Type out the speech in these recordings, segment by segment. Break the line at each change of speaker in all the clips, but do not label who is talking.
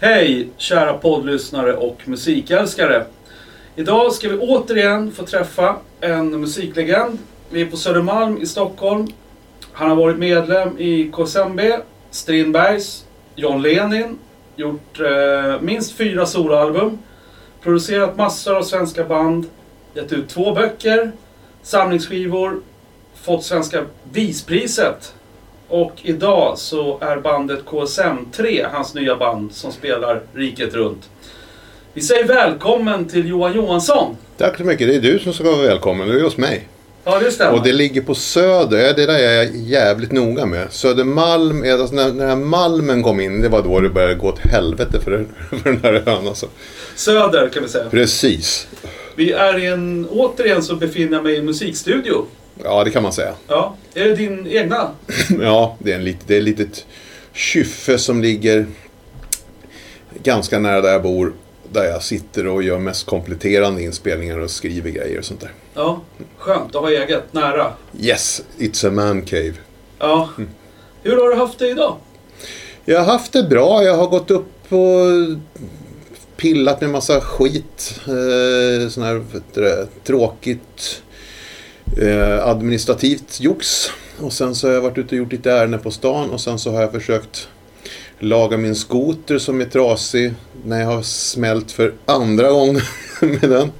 Hej kära poddlyssnare och musikälskare. Idag ska vi återigen få träffa en musiklegend. Vi är på Södermalm i Stockholm. Han har varit medlem i KSMB, Strindbergs, John Lenin, gjort eh, minst fyra soloalbum, producerat massor av svenska band, gett ut två böcker, samlingsskivor, fått Svenska Vispriset och idag så är bandet KSM3 hans nya band som spelar riket runt. Vi säger välkommen till Johan Johansson.
Tack så mycket. Det är du som ska vara välkommen. Du är hos mig.
Ja, det stämmer.
Och det ligger på Söder. Ja, Det där är jag jävligt noga med. Södermalm, är- alltså när, när Malmen kom in, det var då det började gå åt helvete för, den- för den här ön alltså.
Söder kan vi säga.
Precis.
Vi är i en, återigen så befinner jag mig i en musikstudio.
Ja, det kan man säga.
Ja. Är det din egna?
Ja, det är, en lit, det är ett litet kyffe som ligger ganska nära där jag bor. Där jag sitter och gör mest kompletterande inspelningar och skriver grejer och sånt där.
Ja. Skönt att ha eget, nära.
Yes, it's a man cave.
Ja. Hur har du haft det idag?
Jag har haft det bra. Jag har gått upp och pillat med massa skit. Eh, sån här vet du det, tråkigt eh, administrativt jox. Och sen så har jag varit ute och gjort lite ärenden på stan och sen så har jag försökt laga min skoter som är trasig när jag har smält för andra gången med den.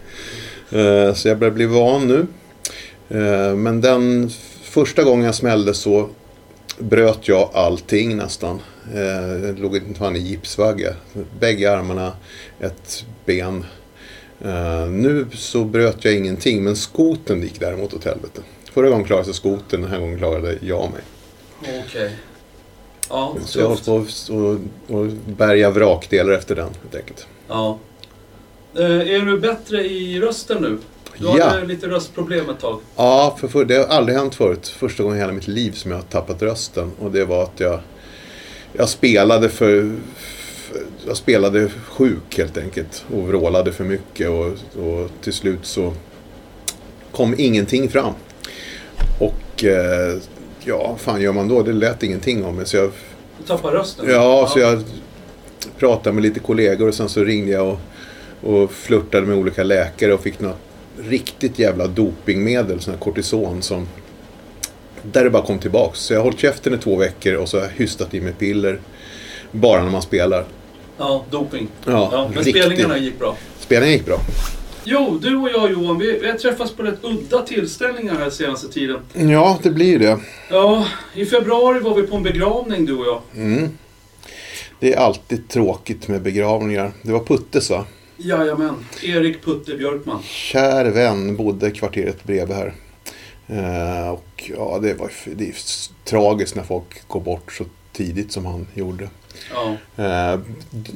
Eh, så jag börjar bli van nu. Eh, men den första gången jag smällde så bröt jag allting nästan. Eh, jag låg inte fan i gipsvagga. Bägge armarna, ett ben. Eh, nu så bröt jag ingenting, men skoten gick däremot åt helvete. Förra gången klarade sig skoten, den här gången klarade jag mig.
Okej. Ja,
Så jag har
tufft.
hållit på och, och, och bärga vrakdelar efter den, helt enkelt.
Ja. Eh, är du bättre i rösten nu? Du
Ja.
hade lite röstproblem ett tag.
Ja, för, för det har aldrig hänt förut. Första gången i hela mitt liv som jag har tappat rösten. Och det var att jag, jag spelade för... för- Jag spelade sjuk helt enkelt och vrålade för mycket och, och till slut så kom ingenting fram. Och eh, ja, fan gör man då? Det lät ingenting om mig. Så jag
Du tappar rösten.
Ja, så jag pratade med lite kollegor och sen så ringde jag och, och flörtade med olika läkare och fick något riktigt jävla dopingmedel, sån här kortison som där det bara kom tillbaks. Så jag har hållit käften i två veckor och så har jag hystat i mig piller bara när man spelar.
Ja, doping.
Ja,
men
riktigt.
spelningarna gick bra.
Spelningen gick bra.
Jo, du och jag Johan, vi, vi har träffats på rätt udda tillställningar här senaste tiden.
Ja, det blir ju det.
Ja, i februari var vi på en begravning du och jag.
Mm. Det är alltid tråkigt med begravningar. Det var Puttes va?
Jajamän, Erik Putte Björkman.
kär vän bodde kvarteret bredvid här. Eh, och ja, det var det är s- tragiskt när folk går bort så tidigt som han gjorde.
Ja,
Eh,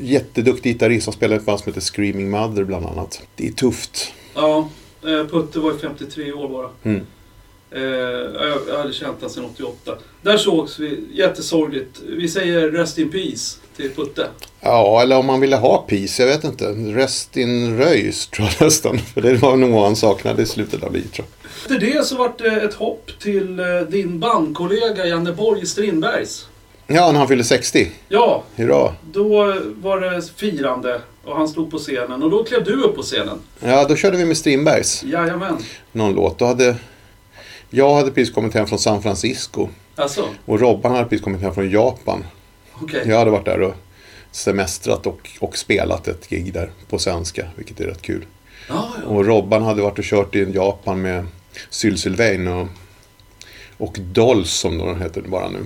jätteduktig gitarrist, han spelade i ett band som heter Screaming Mother bland annat. Det är tufft.
ja eh, Putte var ju 53 år bara.
Mm.
Eh, jag, jag hade känt honom sedan 88. Där sågs vi, jättesorgligt. Vi säger Rest in Peace till Putte.
Ja, eller om man ville ha peace, jag vet inte. Rest in röjs tror jag nästan. För det var nog vad han saknade i slutet av livet tror jag.
Efter det så vart det ett hopp till eh, din bandkollega Janne Borg i Strindbergs.
Ja, när han fyllde 60.
Ja,
Hurra!
Då var det firande och han stod på scenen och då klev du upp på scenen.
Ja, då körde vi med Strindbergs
Jajamän.
någon låt. Då hade... Jag hade precis kommit hem från San Francisco.
Alltså,
Och Robban hade precis kommit hem från Japan.
okej.
Jag hade varit där och semestrat och, och spelat ett gig där på svenska, vilket är rätt kul.
Ja, ja.
Och Robban hade varit och kört i Japan med Syl Sylvain och, och Dolls som de heter bara nu.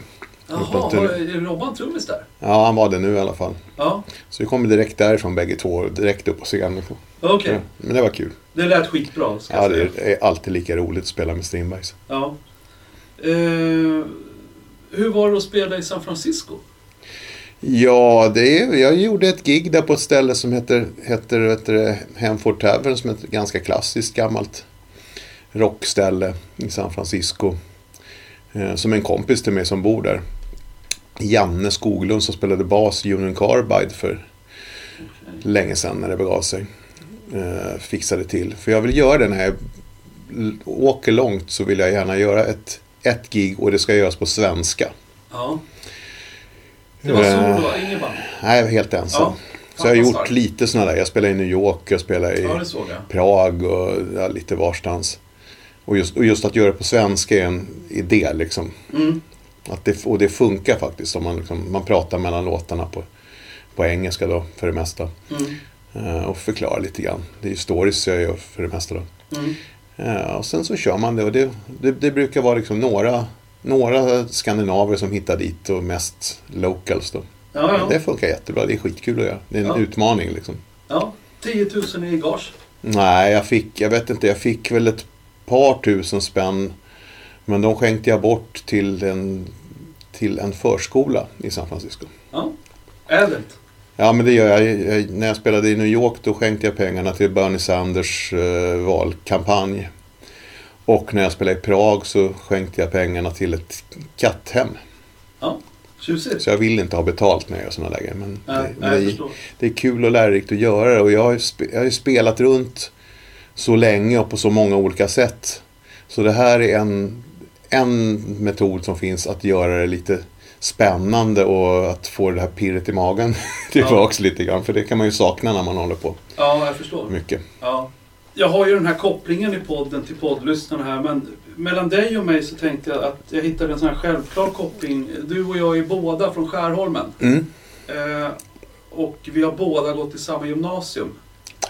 Jaha, var det, är Robban trummis där?
Ja, han var det nu i alla fall.
Ja,
Så vi kom direkt därifrån bägge två, och direkt upp på scenen.
okej.
Ja, men det var kul.
Det lät skitbra. Ska
Ja,
jag
det
säga.
är alltid lika roligt att spela med Strindbergs.
Ja. Eh, hur var det att spela i San Francisco?
Ja, det är, jag gjorde ett gig där på ett ställe som heter, heter, heter det Hanford Tavern som är ett ganska klassiskt gammalt rockställe i San Francisco. Eh, som en kompis till mig som bor där. Janne Skoglund som spelade bas i Union Carbide för länge sedan när det begav sig. Eh, fixade till. För jag vill göra det när jag l- åker långt så vill jag gärna göra ett, ett gig och det ska göras på svenska.
Ja,
Eh,
Det var
Eh,
solo, det var ingen band.
Nej, jag var helt ensam.
Ja,
så jag har
fan,
gjort
starkt.
lite sådana där. Jag spelade i New York, jag spelade i
Ja, det såg jag.
Prag och ja, lite varstans. Och just, och just att göra det på svenska är en idé liksom.
Mm.
Att det, och det funkar faktiskt om man, liksom, man pratar mellan låtarna på, på engelska då för det mesta.
Mm.
Eh, och förklarar lite grann. Det är ju stories jag gör för det mesta då.
Mm.
Eh, och sen så kör man det och det, det, det brukar vara liksom några, några skandinaver som hittar dit och mest locals då.
Ja, ja.
Det funkar jättebra, det är skitkul att göra. Det är en
Ja.
utmaning liksom.
ja. 10 000 i gage.
Nej, jag fick, jag vet inte, jag fick väl ett par tusen spänn. Men de skänkte jag bort till en, till en förskola i San Francisco.
Ja. Ädelt.
Ja, men det gör jag. jag. När jag spelade i New York då skänkte jag pengarna till Bernie Sanders eh, valkampanj. Och när jag spelade i Prag så skänkte jag pengarna till ett katthem.
Ja. Tjusigt.
Så jag vill inte ha betalt när jag gör sådana där grejer. Men
Ja,
det, men
jag
det,
förstår.
det är kul och lärorikt att göra det. Och jag har, ju spe, jag har ju spelat runt så länge och på så många olika sätt. Så det här är en, en metod som finns att göra det lite spännande och att få det här pirret i magen tillbaks lite grann. För det kan man ju sakna när man håller på
Ja, jag förstår.
mycket.
Ja. Jag har ju den här kopplingen i podden till poddlyssnarna här men mellan dig och mig så tänkte jag att jag hittade en sån här självklar koppling. Du och jag är båda från Skärholmen
Mm.
eh, och vi har båda gått i samma gymnasium.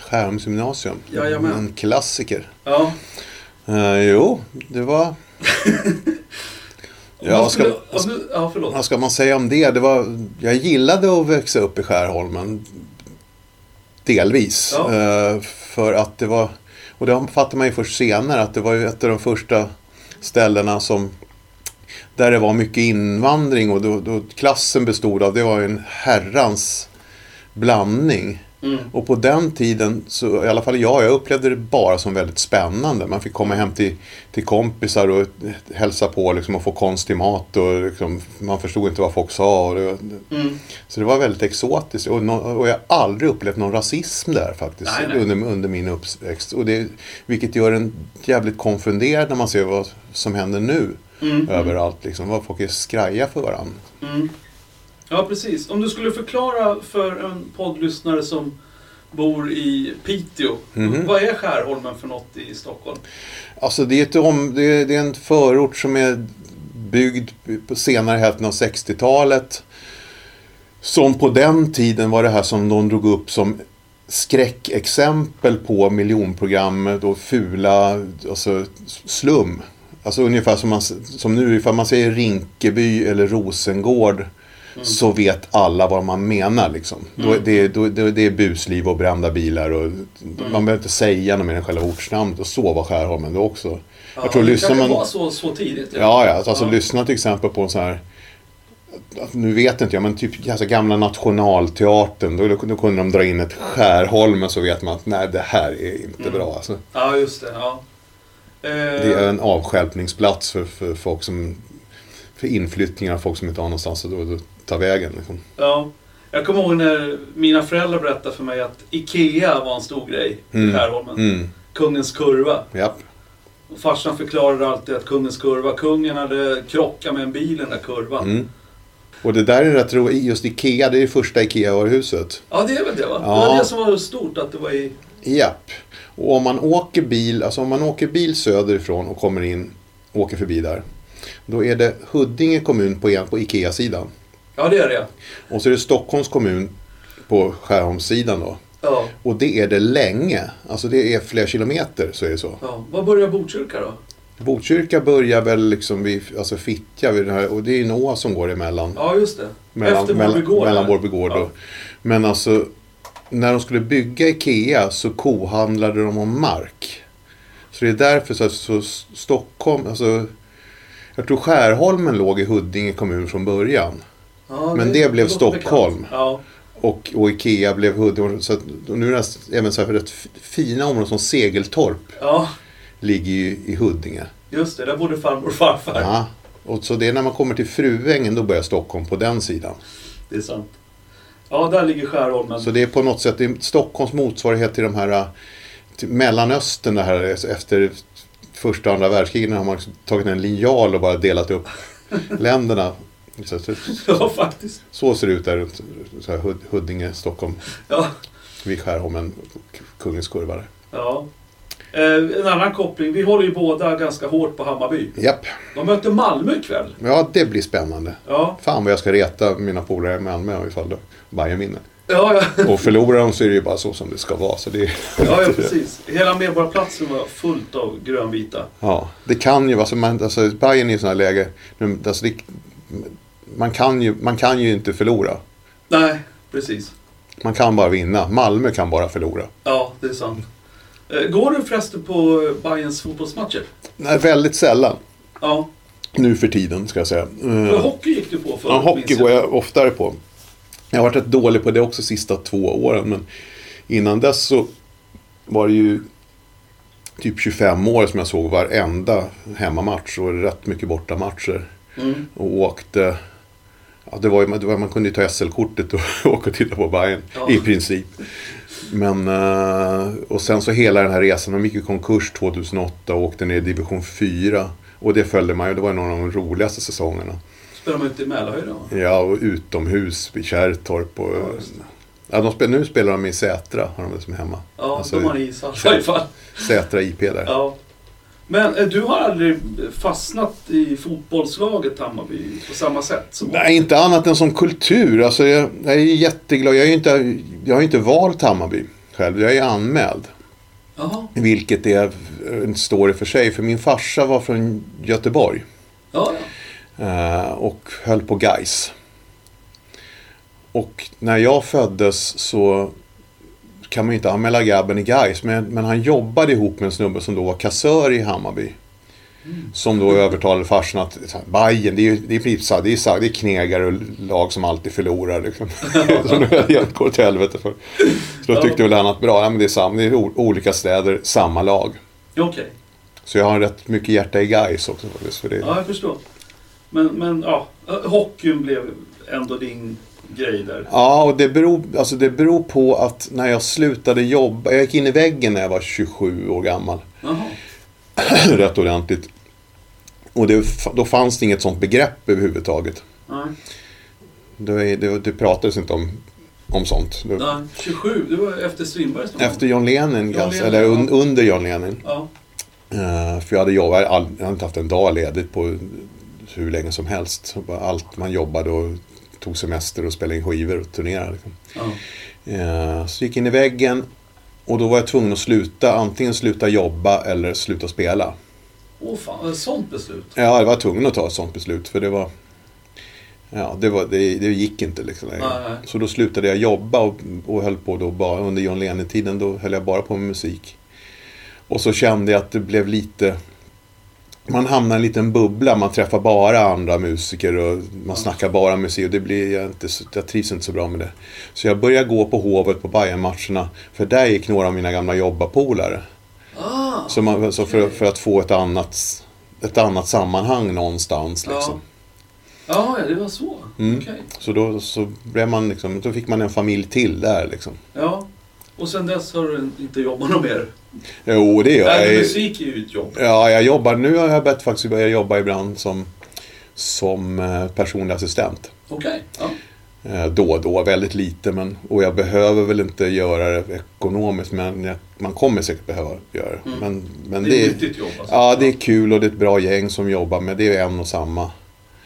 Skärholms gymnasium.
Jajamän.
En klassiker.
Ja.
Eh, jo, det var...
Om
Ja,
man skulle,
ska-
om du, ja, förlåt.
Vad ska man säga om det? det var, jag gillade att växa upp i Skärholmen. Delvis.
Ja.
Eh, för att det var... Och det fattar man ju först senare att det var ju ett av de första ställena som... Där det var mycket invandring och då, då klassen bestod av, det var ju en herrans blandning.
Mm.
Och på den tiden, så, i alla fall jag, jag upplevde det bara som väldigt spännande. Man fick komma hem till, till kompisar och hälsa på liksom, och få konstig mat. Och, liksom, man förstod inte vad folk sa. Och det,
Mm.
så det var väldigt exotiskt. Och, nå- och jag har aldrig upplevt någon rasism där faktiskt.
Nej, nej.
Under, under min uppväxt. Och det, vilket gör en jävligt konfunderad när man ser vad som händer nu.
Mm.
Överallt liksom. Vad folk är skraja för varandra.
Mm. Ja, precis. Om du skulle förklara för en poddlyssnare som bor i Piteå.
Mhm.
Vad är Skärholmen för något i Stockholm?
Alltså det är, ett om, det, är, det är en förort som är byggd på senare hälften av 60-talet. Som på den tiden var det här som de drog upp som skräckexempel på miljonprogrammet och fula alltså slum. Alltså ungefär som, man, som nu, ifall man säger Rinkeby eller Rosengård
Mm.
så vet alla vad man menar. Liksom. Då, är- det, är- då, då, det är busliv och brända bilar. Och,
Mm.
Man behöver inte säga något mer än själva ortsnamnet. Och så var Skärholmen då också.
Ja,
jag tror
det
lyssnar
kanske
man...
var så, så tidigt. typ.
Ja, ja. Alltså
Ja.
lyssna till exempel på en sån här... att- Nu vet inte jag, men typ alltså, gamla Nationalteatern. Då, då kunde de dra in ett Skärholmen så vet man att nej, det här är inte bra. Alltså.
Ja, just det. Ja. Mm. Eh,
Det är en avstjälpningsplats för, för folk som... För inflyttningar av folk som inte har någonstans att att- att ta vägen. Liksom.
ja. Jag kommer ihåg när mina föräldrar berättade för mig att IKEA var en stor grej i
Mm.
Skärholmen.
Mm,
Kungens kurva.
japp.
Och farsan förklarade alltid att kungens kurva, kungen hade krockat med en bil i den där kurvan.
Mm. Och det där är rätt roligt. Just Ikea, det är ju första Ikea-varuhuset.
Ja, det är väl det va? Det
Ja.
var det som var stort, att det var i...
Japp. Och om man åker bil, alltså om man åker bil söderifrån och kommer in, åker förbi där. Då är det Huddinge kommun på, en- på Ikea-sidan.
Ja, det är det.
Och så är det Stockholms kommun på Skärholmssidan då.
Ja.
Och det är det länge. Alltså det är flera kilometer så är det så.
ja. Var börjar Botkyrka då?
Botkyrka börjar väl liksom vid alltså Fittja vid den här, och det är en å som går emellan.
Ja, just det.
Mellan,
Efter
mellan,
Vårby gård.
mellan
där.
Vårby gård
Ja.
och, Men alltså, när de skulle bygga IKEA så kohandlade de om mark. Så det är därför så, så Stockholm, alltså jag tror Skärholmen låg i Huddinge kommun från början.
Ja,
Men det blev
låter
Stockholm.
bekant. Ja.
Och, och IKEA blev Huddinge. Så att, och nu är det nästan- även så här rätt f- fina områden som Segeltorp
ja,
ligger ju i Huddinge.
just det. Där bodde farmor och farfar.
Ja. Och så det är när man kommer till Fruängen, då börjar Stockholm på den sidan.
Det är sant. Ja, där ligger Skärholmen.
Så det är på något sätt det är Stockholms motsvarighet till de här eh, till Mellanöstern det här eh, efter första och andra världskriget när man har tagit en linjal och bara delat upp länderna. Så, så,
Ja, faktiskt.
så ser det ut där runt så här, Hud- Huddinge, Stockholm.
Ja.
Vid Skärholmen, K- Kungens kurva där.
ja. Eh, en annan koppling. Vi håller ju båda ganska hårt på Hammarby.
Japp.
De möter Malmö ikväll.
Ja, det blir spännande.
Ja,
Fan vad jag ska reta mina polare i Malmö ifall då Bayern vinner.
ja, ja.
Och förlorar de så är det ju bara så som det ska vara. Så det, är-
ja, ja precis. Hela Medborgarplatsen var fullt av grönvita.
ja, det kan ju vara så. Man, alltså, Bayern är i sådana läge. nu, Alltså, det, man, kan ju, man kan ju inte förlora.
Nej, precis.
Man kan bara vinna. Malmö kan bara förlora.
Ja, det är sant. Eh, Går du förresten på eh, Bayerns fotbollsmatcher?
Nej, väldigt sällan.
Ja.
Nu för tiden ska jag säga. Eh,
För hockey gick du på förut,
Ja, hockey
minns
går jag oftare på. Jag har varit rätt dålig på det också de sista två åren. Men innan dess så var det ju typ 25 år som jag såg varenda hemmamatch och rätt mycket bortamatcher.
Mm.
Och åkte... Ja, det var ju, det var, man kunde ju ta SL-kortet och åka och titta på Bayern
Ja.
i princip. Men, eh, och sen så hela den här resan, de gick i konkurs 2008 och åkte ner i division 4. Och det följde man ju, det var ju någon av de roligaste säsongerna.
Spelar man inte i Mälarhöjden va?
Ja, och utomhus i Kärrtorp. Och,
Ja,
ja,
just
de spel, nu spelar de i Sätra, har de det som hemma.
Ja,
Alltså,
de har ishall i alla fall.
Sätra IP där.
Ja. Men eh, du har aldrig fastnat i fotbollslaget Hammarby på samma sätt? Som
Nej, inte annat än som kultur. Alltså, jag, jag är ju jätteglad. Jag, är ju inte, jag har ju inte valt Hammarby själv. Jag är anmäld.
Jaha.
Vilket är eh, en story för sig. För min farsa var från Göteborg.
Ja, ja.
Eh, och höll på Geis. Och när jag föddes så kan man ju inte anmäla grabben i Geis, men, men han jobbade ihop med en snubbe som då var kassör i Hammarby. Som då övertalade farsan att så här, Bajen, det är ju det är, pizza, det är, så här, det är knegare och lag som alltid förlorar. Liksom. som det helt går till helvete för. Så då tyckte väl han att bra, ja, men det, är samma, det är o- olika städer, samma lag.
Ja, Okej.
Så jag har rätt mycket hjärta i Geis också faktiskt. För det,
Ja, jag förstår. Men, men ja, Eh, hockeyn blev ändå din grej där.
Ja, och det beror, alltså det beror på att när jag slutade jobba, jag gick in i väggen när jag var 27 år gammal,
Jaha.
rätt ordentligt. Och det, då fanns det inget sånt begrepp överhuvudtaget.
Nej.
Det, det, det pratades inte om, om sånt. Det,
Nej. 27, det var efter Strindbergs någon gång.
efter John Lennon, ganska,
Lennon,
eller
ja.
un, under John Lennon.
Ja.
Eh, för jag hade jobbat, all, jag hade inte haft en dag ledigt på hur länge som helst. Så bara Allt man jobbade och tog semester och spelade in skivor och turnerade. Liksom.
ja.
Eh, Så gick jag in i väggen och då var jag tvungen att sluta, antingen sluta jobba eller sluta spela.
Åh fan, ett sånt beslut.
Ja, jag var tvungen att ta ett sånt beslut för det var... Ja, det, var, det, det gick inte liksom längre.
Nej, nej.
Så då slutade jag jobba och, och höll på då bara under John Lennon-tiden, då höll jag bara på med musik. Och så kände jag att det blev lite... Man hamnar i en liten bubbla, man träffar bara andra musiker och man snackar bara musik och det blir jag inte, så- jag trivs inte så bra med det. Så jag började gå på Hovet på Bayern-matcherna för där gick några av mina gamla jobbarpolare.
Ah,
Så, man, så för, för att få ett annat, ett annat sammanhang någonstans. Liksom.
ja, ja, det var så.
Mm.
Okej.
Så, då, så blev man liksom, då fick man en familj till där. Liksom.
Ja. Och sen dess har du inte jobbat något mer?
Jo, Eh, det gör
Nej,
jag.
musik är ju ett jobb.
Ja, jag jobbar, nu har jag börjat faktiskt börja jobba ibland som, som eh, personlig assistent.
Okej. Ja.
Eh, Då och då, väldigt lite. Men, och jag behöver väl inte göra det ekonomiskt, men jag, man kommer säkert behöva göra det.
Mm.
Men, men
Det är
det,
ett nyttigt jobb alltså.
ja, det är kul och det är ett bra gäng som jobbar med. Det är en och samma.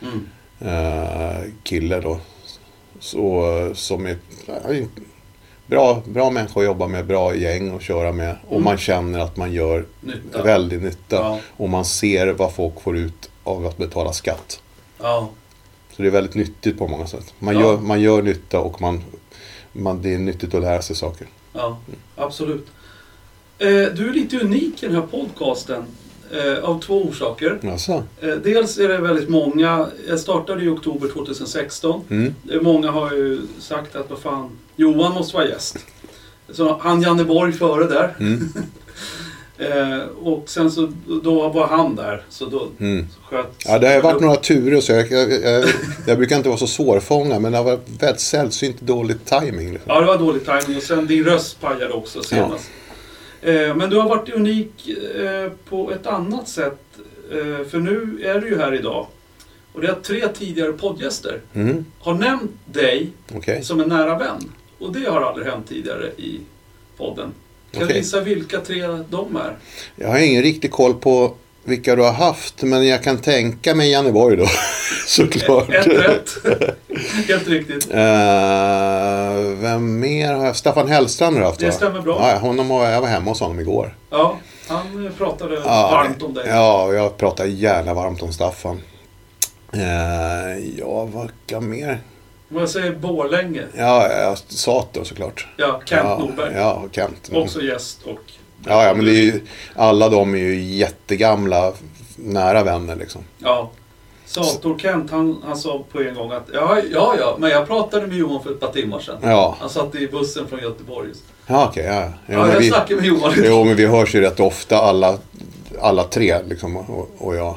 Mm.
eh, kille då. Så, som är eh, bra, bra människa att jobba med, bra gäng att köra med. Och
Mm.
man känner att man gör
Nytta.
väldigt nytta.
Ja.
Och man ser vad folk får ut av att betala skatt.
ja.
Så det är väldigt nyttigt på många sätt. Man,
Ja.
gör, man gör nytta och man, man, det är nyttigt att lära sig saker.
Ja, absolut. Eh, Du är lite unik i den här podcasten eh, av två orsaker.
Alltså.
Eh, Dels är det väldigt många, jag startade i oktober 2016.
Mm.
Eh, Många har ju sagt att vad fan, Johan måste vara gäst. Så han Janne Borg före där.
Mm.
Eh, Och sen så, då var han där. Så då
Mm.
sköt...
Ja, det har ju varit några turer så jag, jag, jag, jag brukar inte vara så svårfångad men det har varit väldigt sällsynt dålig timing. Liksom.
Ja, det var dålig timing och sen din röst pajade också senast. Eh, Men du har varit unik eh, på ett annat sätt. eh, För nu är du ju här idag. Och det är att tre tidigare poddgäster
Mm,
har nämnt dig
okej.
som en nära vän. Och det har aldrig hänt tidigare i podden. Kan du
Okej.
gissa vilka tre de är?
Jag har ingen riktig koll på vilka du har haft, men jag kan tänka mig Janneborg då. Såklart.
Ett rätt. Helt riktigt.
Eh, vem mer har jag? Staffan Hellstrand har du haft
Det
va?
stämmer bra.
Ja, honom har, jag var hemma hos honom igår.
Ja, han eh, pratade
Ja, eh,
varmt om dig.
Ja, jag pratar gärna varmt om Staffan. Eh, ja, vad kan mer?
Vad säger Borlänge?
Ja, jag sa det såklart.
Ja, Kent
ja,
Norberg.
Ja, Kent. Mm.
Också gäst och...
Ja, ja, men det är ju, alla de är ju jättegamla, nära vänner liksom.
Ja. Sator-Kent, han, han sa på en gång att ja, ja, ja, men jag pratade med Johan för ett par timmar sedan.
Ja,
Han satt i bussen från Göteborg. just.
ja okej. ja. Jo,
Ja,
men
jag
vi,
snackade med Johan.
jo, men vi hörs ju rätt ofta alla, alla tre liksom, och, och jag.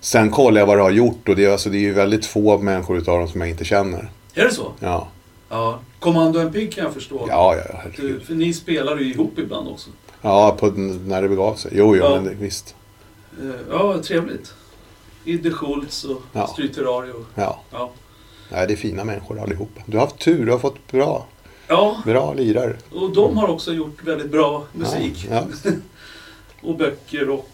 Sen kollar jag vad du har gjort och det, är- alltså, det är ju väldigt få människor utav dem som jag inte känner.
Är det så?
Ja,
Ja. Commando en pigg kan jag förstå.
ja, ja. herregud.
Du, för ni spelar ju ihop ibland också.
Ja, på, när det begav sig. Jo, jo,
Ja.
men det, visst.
Eh, Ja, trevligt. Idde Schultz och
Ja.
Stryterario.
Ja.
Ja.
Nej, det är fina människor allihopa. Du har haft tur, du har fått bra,
ja,
bra lirare.
och de har också gjort väldigt bra musik.
Ja, ja.
Och böcker och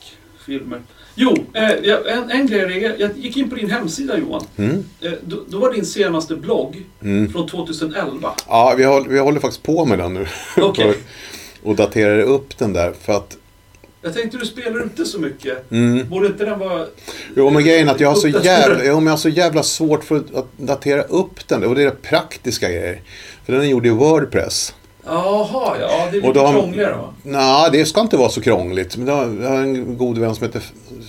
filmer. Jo, eh, jag- en, en grej. är- Jag gick in på din hemsida Johan.
Mm.
Eh, då, då var din senaste blogg
Mm.
från 2011.
ja vi, håller, vi håller faktiskt på med den nu.
Okej.
och, och daterar upp den där för att...
Jag tänkte du spelar inte så mycket.
Mm.
Borde inte den vara...
Jo, men grejen är att jag har så jävla, jo, men jag har så jävla svårt för att datera upp den. Och det är praktiska grejer. För den är gjord i Wordpress.
Jaha, ja. Det är
Och
lite
då har-
krångligare va?
Nej, det ska inte vara så krångligt. Men det har- jag har en god vän som heter,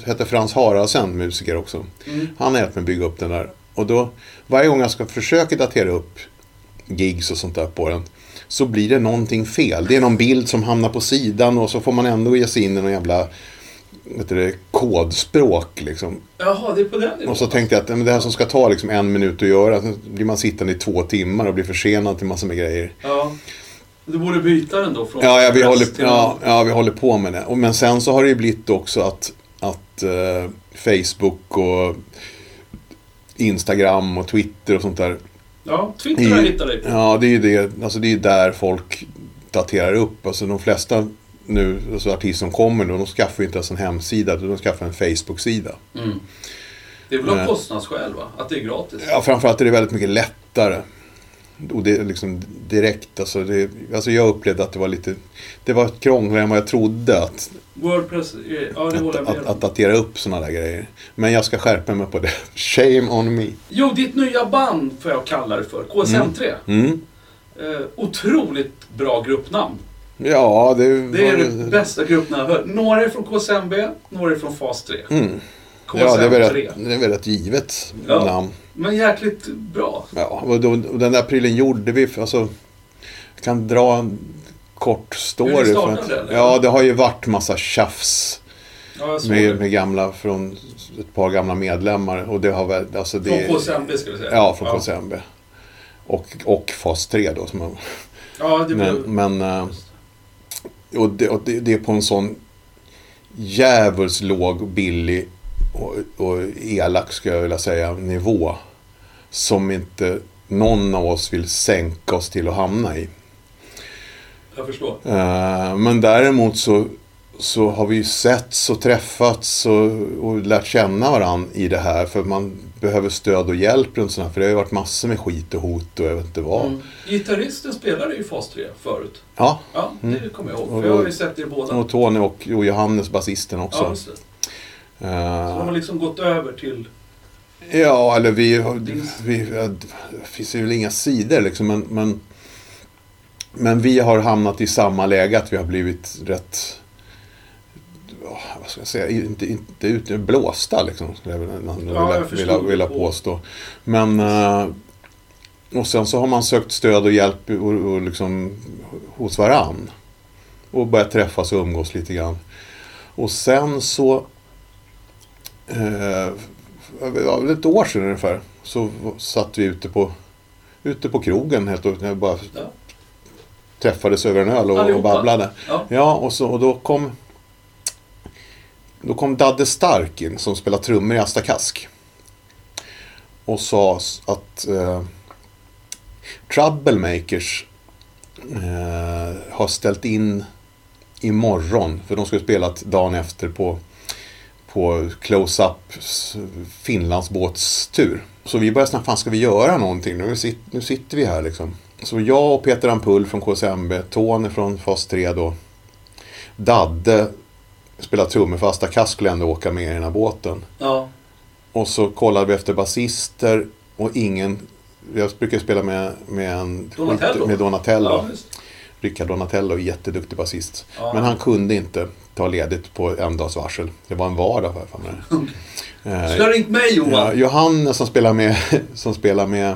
heter Frans Haraldsen, musiker också.
Mm.
Han har hjälpt mig att bygga upp den där. Och då, varje gång jag ska försöka datera upp gigs och sånt där på den, så blir det någonting fel. Det är någon bild som hamnar på sidan och så får man ändå ge sig in i någon jävla vet du, det, kodspråk. Liksom.
Jaha, det är på den nivån.
Och så tänkte jag att ja, men det här som ska ta liksom en minut att göra, så blir man sittande i två timmar och blir försenad till massor med grejer.
Ja. Du borde byta den då från
Ja, ja, vi
press
håller,
till-
ja, ja, vi håller på med det. Och, men sen så har det ju blivit också att, att eh, Facebook och Instagram och Twitter och sånt där.
ja
är
Twitter har jag
ju-
hittat dig på.
Ja, det är ju det, alltså det är ju där folk daterar upp. Alltså de flesta nu, alltså artister som kommer nu, de skaffar ju inte ens en hemsida, utan de skaffar en Facebook-sida.
Mm. Det är väl av
Nej.
kostnadsskäl va? Att det är gratis?
Ja, framförallt är det väldigt mycket lättare. Och det är liksom direkt, alltså, det, alltså jag upplevde att det var lite, det var krångligare än vad jag trodde att
Wordpress, är- ja det
att,
håller jag med
att,
om.
att datera upp sådana där grejer. Men jag ska skärpa mig på det. Shame on me.
Jo, ditt nya band får jag kalla det för. KSM3.
Mm.
Eh, otroligt bra gruppnamn.
Ja, det,
Det är
var-
det bästa gruppnamn jag hört. Några är från KSMB, några är från Fas 3.
Mm.
KSM3.
Ja, det är väl ett, det är väl ett givet
Ja.
namn.
Men jäkligt bra.
Ja, och, då, och den där prylen gjorde vi, för- alltså, jag kan dra en kort story.
Hur ni
från
startade, eller?
ja, det har ju varit massa tjafs
Ja, jag såg
med,
det.
med gamla, från ett par gamla medlemmar. Och det har väl, alltså det,
Från KSMB ska vi säga.
Ja, från KSMB. Och, och fas 3 då. Som, har-
Ja, det blev...
men, men eh, Och det, och det, det är på en sån djävulskt låg, billig och, och elak, skulle jag vilja säga, nivå. Som inte någon av oss vill sänka oss till att hamna i.
Jag förstår.
Eh, men däremot så, så har vi ju setts och träffats och, och lärt känna varandra i det här. För man behöver stöd och hjälp runt sådana här. För det har ju varit massor med skit och hot och jag vet inte vad.
Mm. Gitarristen spelade ju Fas 3 förut.
Ja,
Ja, det kommer jag ihåg. För
Mm. Och-
jag har ju sett er båda.
och Tony och, och Johannes, basisten också.
ja, just det.
Eh,
Så de har liksom gått över till...
Ja, eller vi, har-
Finns-
vi ja, det finns ju väl inga sidor liksom, men, men, men vi har hamnat i samma läge att vi har blivit rätt, ja, vad ska jag säga, inte, inte ut, blåsta liksom, skulle jag vilja,
jag
vilja, vilja,
förstod.
vilja påstå. Men, eh, och sen så har man sökt stöd och hjälp och, och liksom, hos varann. Och börjat träffas och umgås lite grann. Och sen så eh, ja, väl ett år sedan ungefär så satt vi ute på, ute på krogen helt och när vi bara
Ja.
träffades över en öl och, och
Allihopa.
babblade.
Ja.
Ja, och, så, och då kom då kom Dadde Stark in som spelar trummor i Asta Kask. och sa s- att eh, Troublemakers eh, har ställt in imorgon, för de skulle spela dagen efter på, på Close-Up s- Finlandsbåtstur. Så vi började snabbt, fan ska vi göra någonting? Nu, sit, nu sitter vi här liksom. Så jag och Peter Ampull från KSMB, Tony från fas 3 då, Dadde spelade trummor för Asta Kass skulle ändå åka med i den här båten.
Ja.
Och så kollade vi efter basister och ingen... Jag brukar spela med, med, en,
Donatello.
med Donatello.
Ja, visst.
Rickard Donatello, jätteduktig basist.
Ja.
Men han kunde inte ta ledigt på en dags varsel. Det var en vardag för Eh, fan.
Så du har ringt mig
Ja,
Johan?
Johannes som spelar med, som spelar med,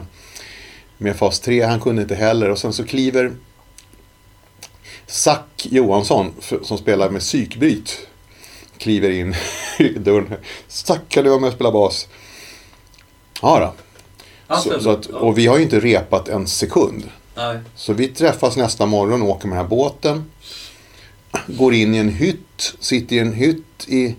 med fas 3, han kunde inte heller. Och sen så kliver Zack Johansson, f- som spelar med psykbryt, kliver in i dörren. Zack, kan du vara med och spela bas? Ja då.
Han
Så,
ställde
så att,
upp. Ja.
och vi har ju inte repat en sekund.
Nej.
Så vi träffas nästa morgon och åker med den här båten. Går in i en hytt, sitter i en hytt i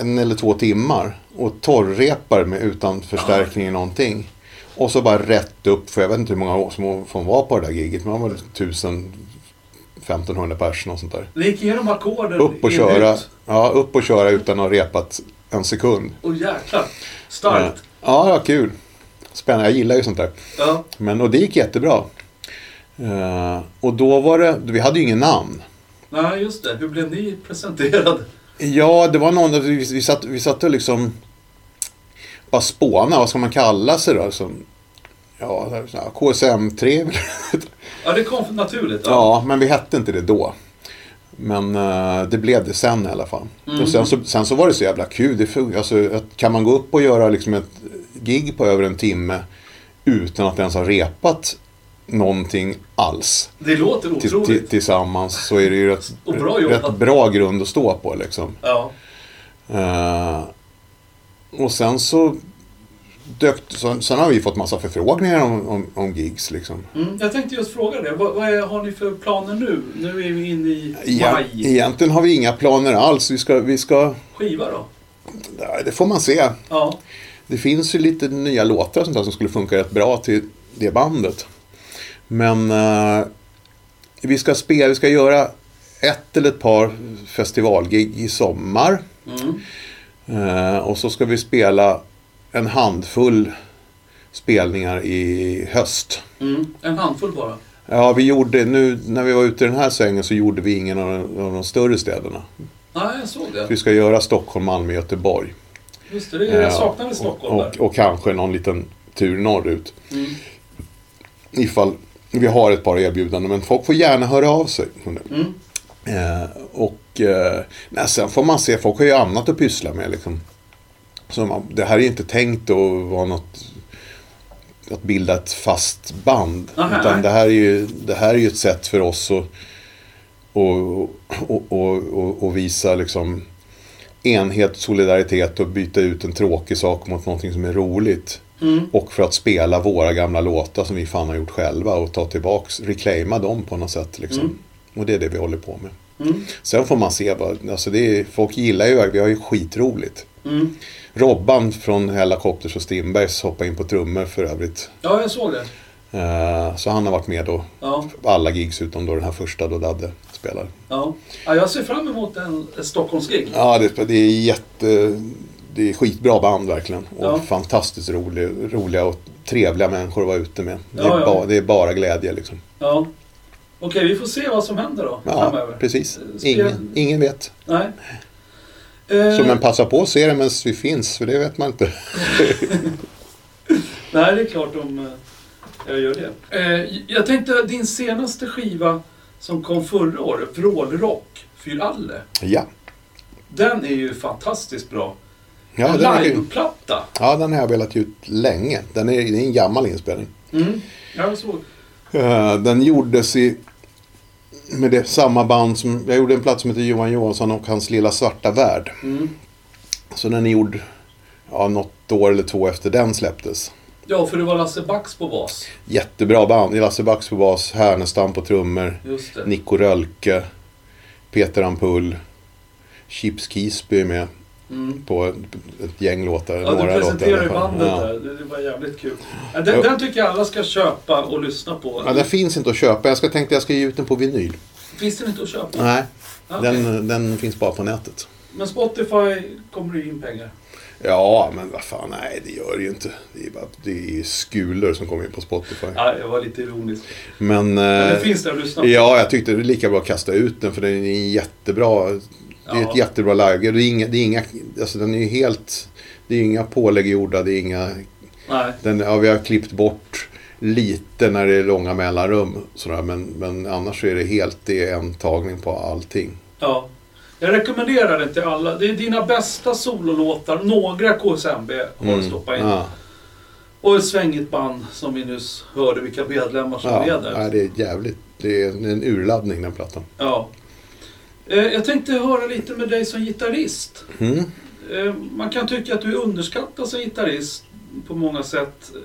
en eller två timmar och torrrepar med, utan förstärkning i någonting. Och så bara rätt upp, för jag vet inte hur många år som som var på det där giget, men det var väl 1000 1500 pers och sånt där.
Vi gick igenom ackorden
Upp och
i en
köra,
hytt.
ja, upp och köra utan att ha repat en sekund.
Åh jäklar. Starkt.
Ja, ja, kul. Spännande, jag gillar ju sånt där.
Ja.
Men, och det gick jättebra. Eh, och då var det, vi hade ju ingen namn.
Nej, just det. Hur blev ni presenterade?
Ja, det var någon, vi, vi, satt, vi satt och liksom bara spåna, vad ska man kalla sig då? Som, ja, så här, KSM3 eller
Ja, det kom naturligt. Ja.
Ja, men vi hette inte det då. Men eh, det blev det sen i alla fall. Och sen, så, sen så var det så jävla kul. Det fun- alltså, att, kan man gå upp och göra liksom ett gig på över en timme utan att ens ha repat någonting alls?
Det låter
till- till-
otroligt.
tillsammans så är det ju rätt,
Och bra jobbat.
rätt bra grund att stå på. Liksom.
Ja.
Eh, och sen så dök, sen, sen har vi fått massa förfrågningar om, om, om gigs. Liksom.
Mm, jag tänkte just fråga det. Vad, vad är, har ni för planer nu? Nu är vi inne i
Egen-
maj.
Egentligen har vi inga planer alls. Vi ska, vi ska,
Skiva då?
det får man se.
Ja.
Det finns ju lite nya låtar och sånt där som skulle funka rätt bra till det bandet. Men eh, vi ska spela, vi ska göra ett eller ett par festivalgig i sommar.
Mm.
Eh, och så ska vi spela en handfull spelningar i höst.
Mm. En handfull bara.
Ja, vi gjorde, nu när vi var ute i den här svängen så gjorde vi ingen av de, av de större städerna.
Nej, jag såg det.
Vi ska göra Stockholm, Malmö, Göteborg.
Just det, det är, jag
Eh,
saknade
och,
Stockholm
och,
där.
och kanske någon liten tur norrut.
Mm.
Ifall vi har ett par erbjudanden, men folk får gärna höra av sig.
Mm.
Eh, och eh, nej, sen får man se, folk har ju annat att pyssla med. Liksom. Så man, det här är ju inte tänkt att vara något att bilda ett fast band.
Aha,
utan
nej.
det här, är ju, det här är ju ett sätt för oss att och, och, och, och, och visa liksom enhet, solidaritet och byta ut en tråkig sak mot någonting som är roligt.
Mm.
Och för att spela våra gamla låtar som vi fan har gjort själva och ta tillbaks, reclaima dem på något sätt. Liksom.
Mm.
Och det är det vi håller på med.
Mm.
Sen får man se, vad, alltså det är, folk gillar ju, vi har ju skitroligt.
Mm.
Robban från Hellacopters och Strindbergs hoppar in på trummor för övrigt.
Ja, jag såg det.
Eh, så han har varit med då,
Ja,
alla gigs utom då den här första då Dadde spelar.
ja. ja, jag ser fram emot en ett Stockholmsgig.
Ja, det, det är jätte... Det är skitbra band verkligen. Och
Ja.
fantastiskt roliga, roliga och trevliga människor att vara ute med. Det,
Ja,
är,
ja.
ba, det är bara glädje liksom.
Ja. Okej, vi får se vad som händer då
Ja,
framöver.
precis.
Spel-
Ingen, ingen vet.
Nej. Eh,
Så men passa på att se det medan vi finns, för det vet man inte.
Nej, det är klart om eh, jag gör det. Eh, jag tänkte din senaste skiva som kom förra året, Vrålrock, Fyr alle.
Ja,
Den är ju fantastiskt bra.
ja
en
den, är, kul.
liveplatta.
ja, den har jag velat ge ut länge. Den är, det är en gammal inspelning.
Mm. Jag såg.
Eh, Den gjordes i, med det, samma band som... Jag gjorde en plats som heter Johan Johansson och hans lilla svarta värld.
Mm.
Så den är gjord ja, något år eller två efter den släpptes.
Ja, för det var Lasse Bax på bas.
Jättebra band. Det är Lasse Bax på bas, Härnestam på trummor,
Just det.
Nico Rölke, Peter Ampull, Chips Kisby är med.
Mm.
på ett gäng låtar.
Ja, du
några låtar i alla
presenterar ju
fall.
bandet
ja.
där. Det, det var jävligt kul. Ja, Den,
Ja.
den tycker jag alla ska köpa och lyssna på.
Ja, den finns inte att köpa. Jag ska tänkte jag ska ge ut den på vinyl.
Finns den inte att köpa?
Nej,
Ja, okej.
den, den finns bara på nätet.
Men Spotify kommer det ju in pengar.
Ja, men vad fan, nej det gör det ju inte. Det är, bara, det är ju skulor som kommer in på Spotify.
Ja, jag var lite ironisk.
Men,
Men
eh,
den finns där att lyssna på.
ja, jag tyckte det var lika bra att kasta ut den för den är jättebra. Det är
Ja.
ett jättebra läge. Det är inga, det är inga, alltså den är ju helt, det är inga pålägg gjorda, det är inga
Nej.
Den, ja, vi har klippt bort lite när det är långa mellanrum. Sådär, men, men annars så är det helt det är en tagning på allting.
Ja. Jag rekommenderar den till alla. Det är dina bästa sololåtar. Några KSMB har du stoppat in.
Mm. Ja,
Och ett svängigt band som vi nyss hörde vilka medlemmar som
ja,
är där.
ja, det är jävligt. Det är en urladdning den plattan.
Ja. Eh, Jag tänkte höra lite med dig som gitarrist.
Mm.
Eh, Man kan tycka att du är underskattad som gitarrist på många sätt. Eh,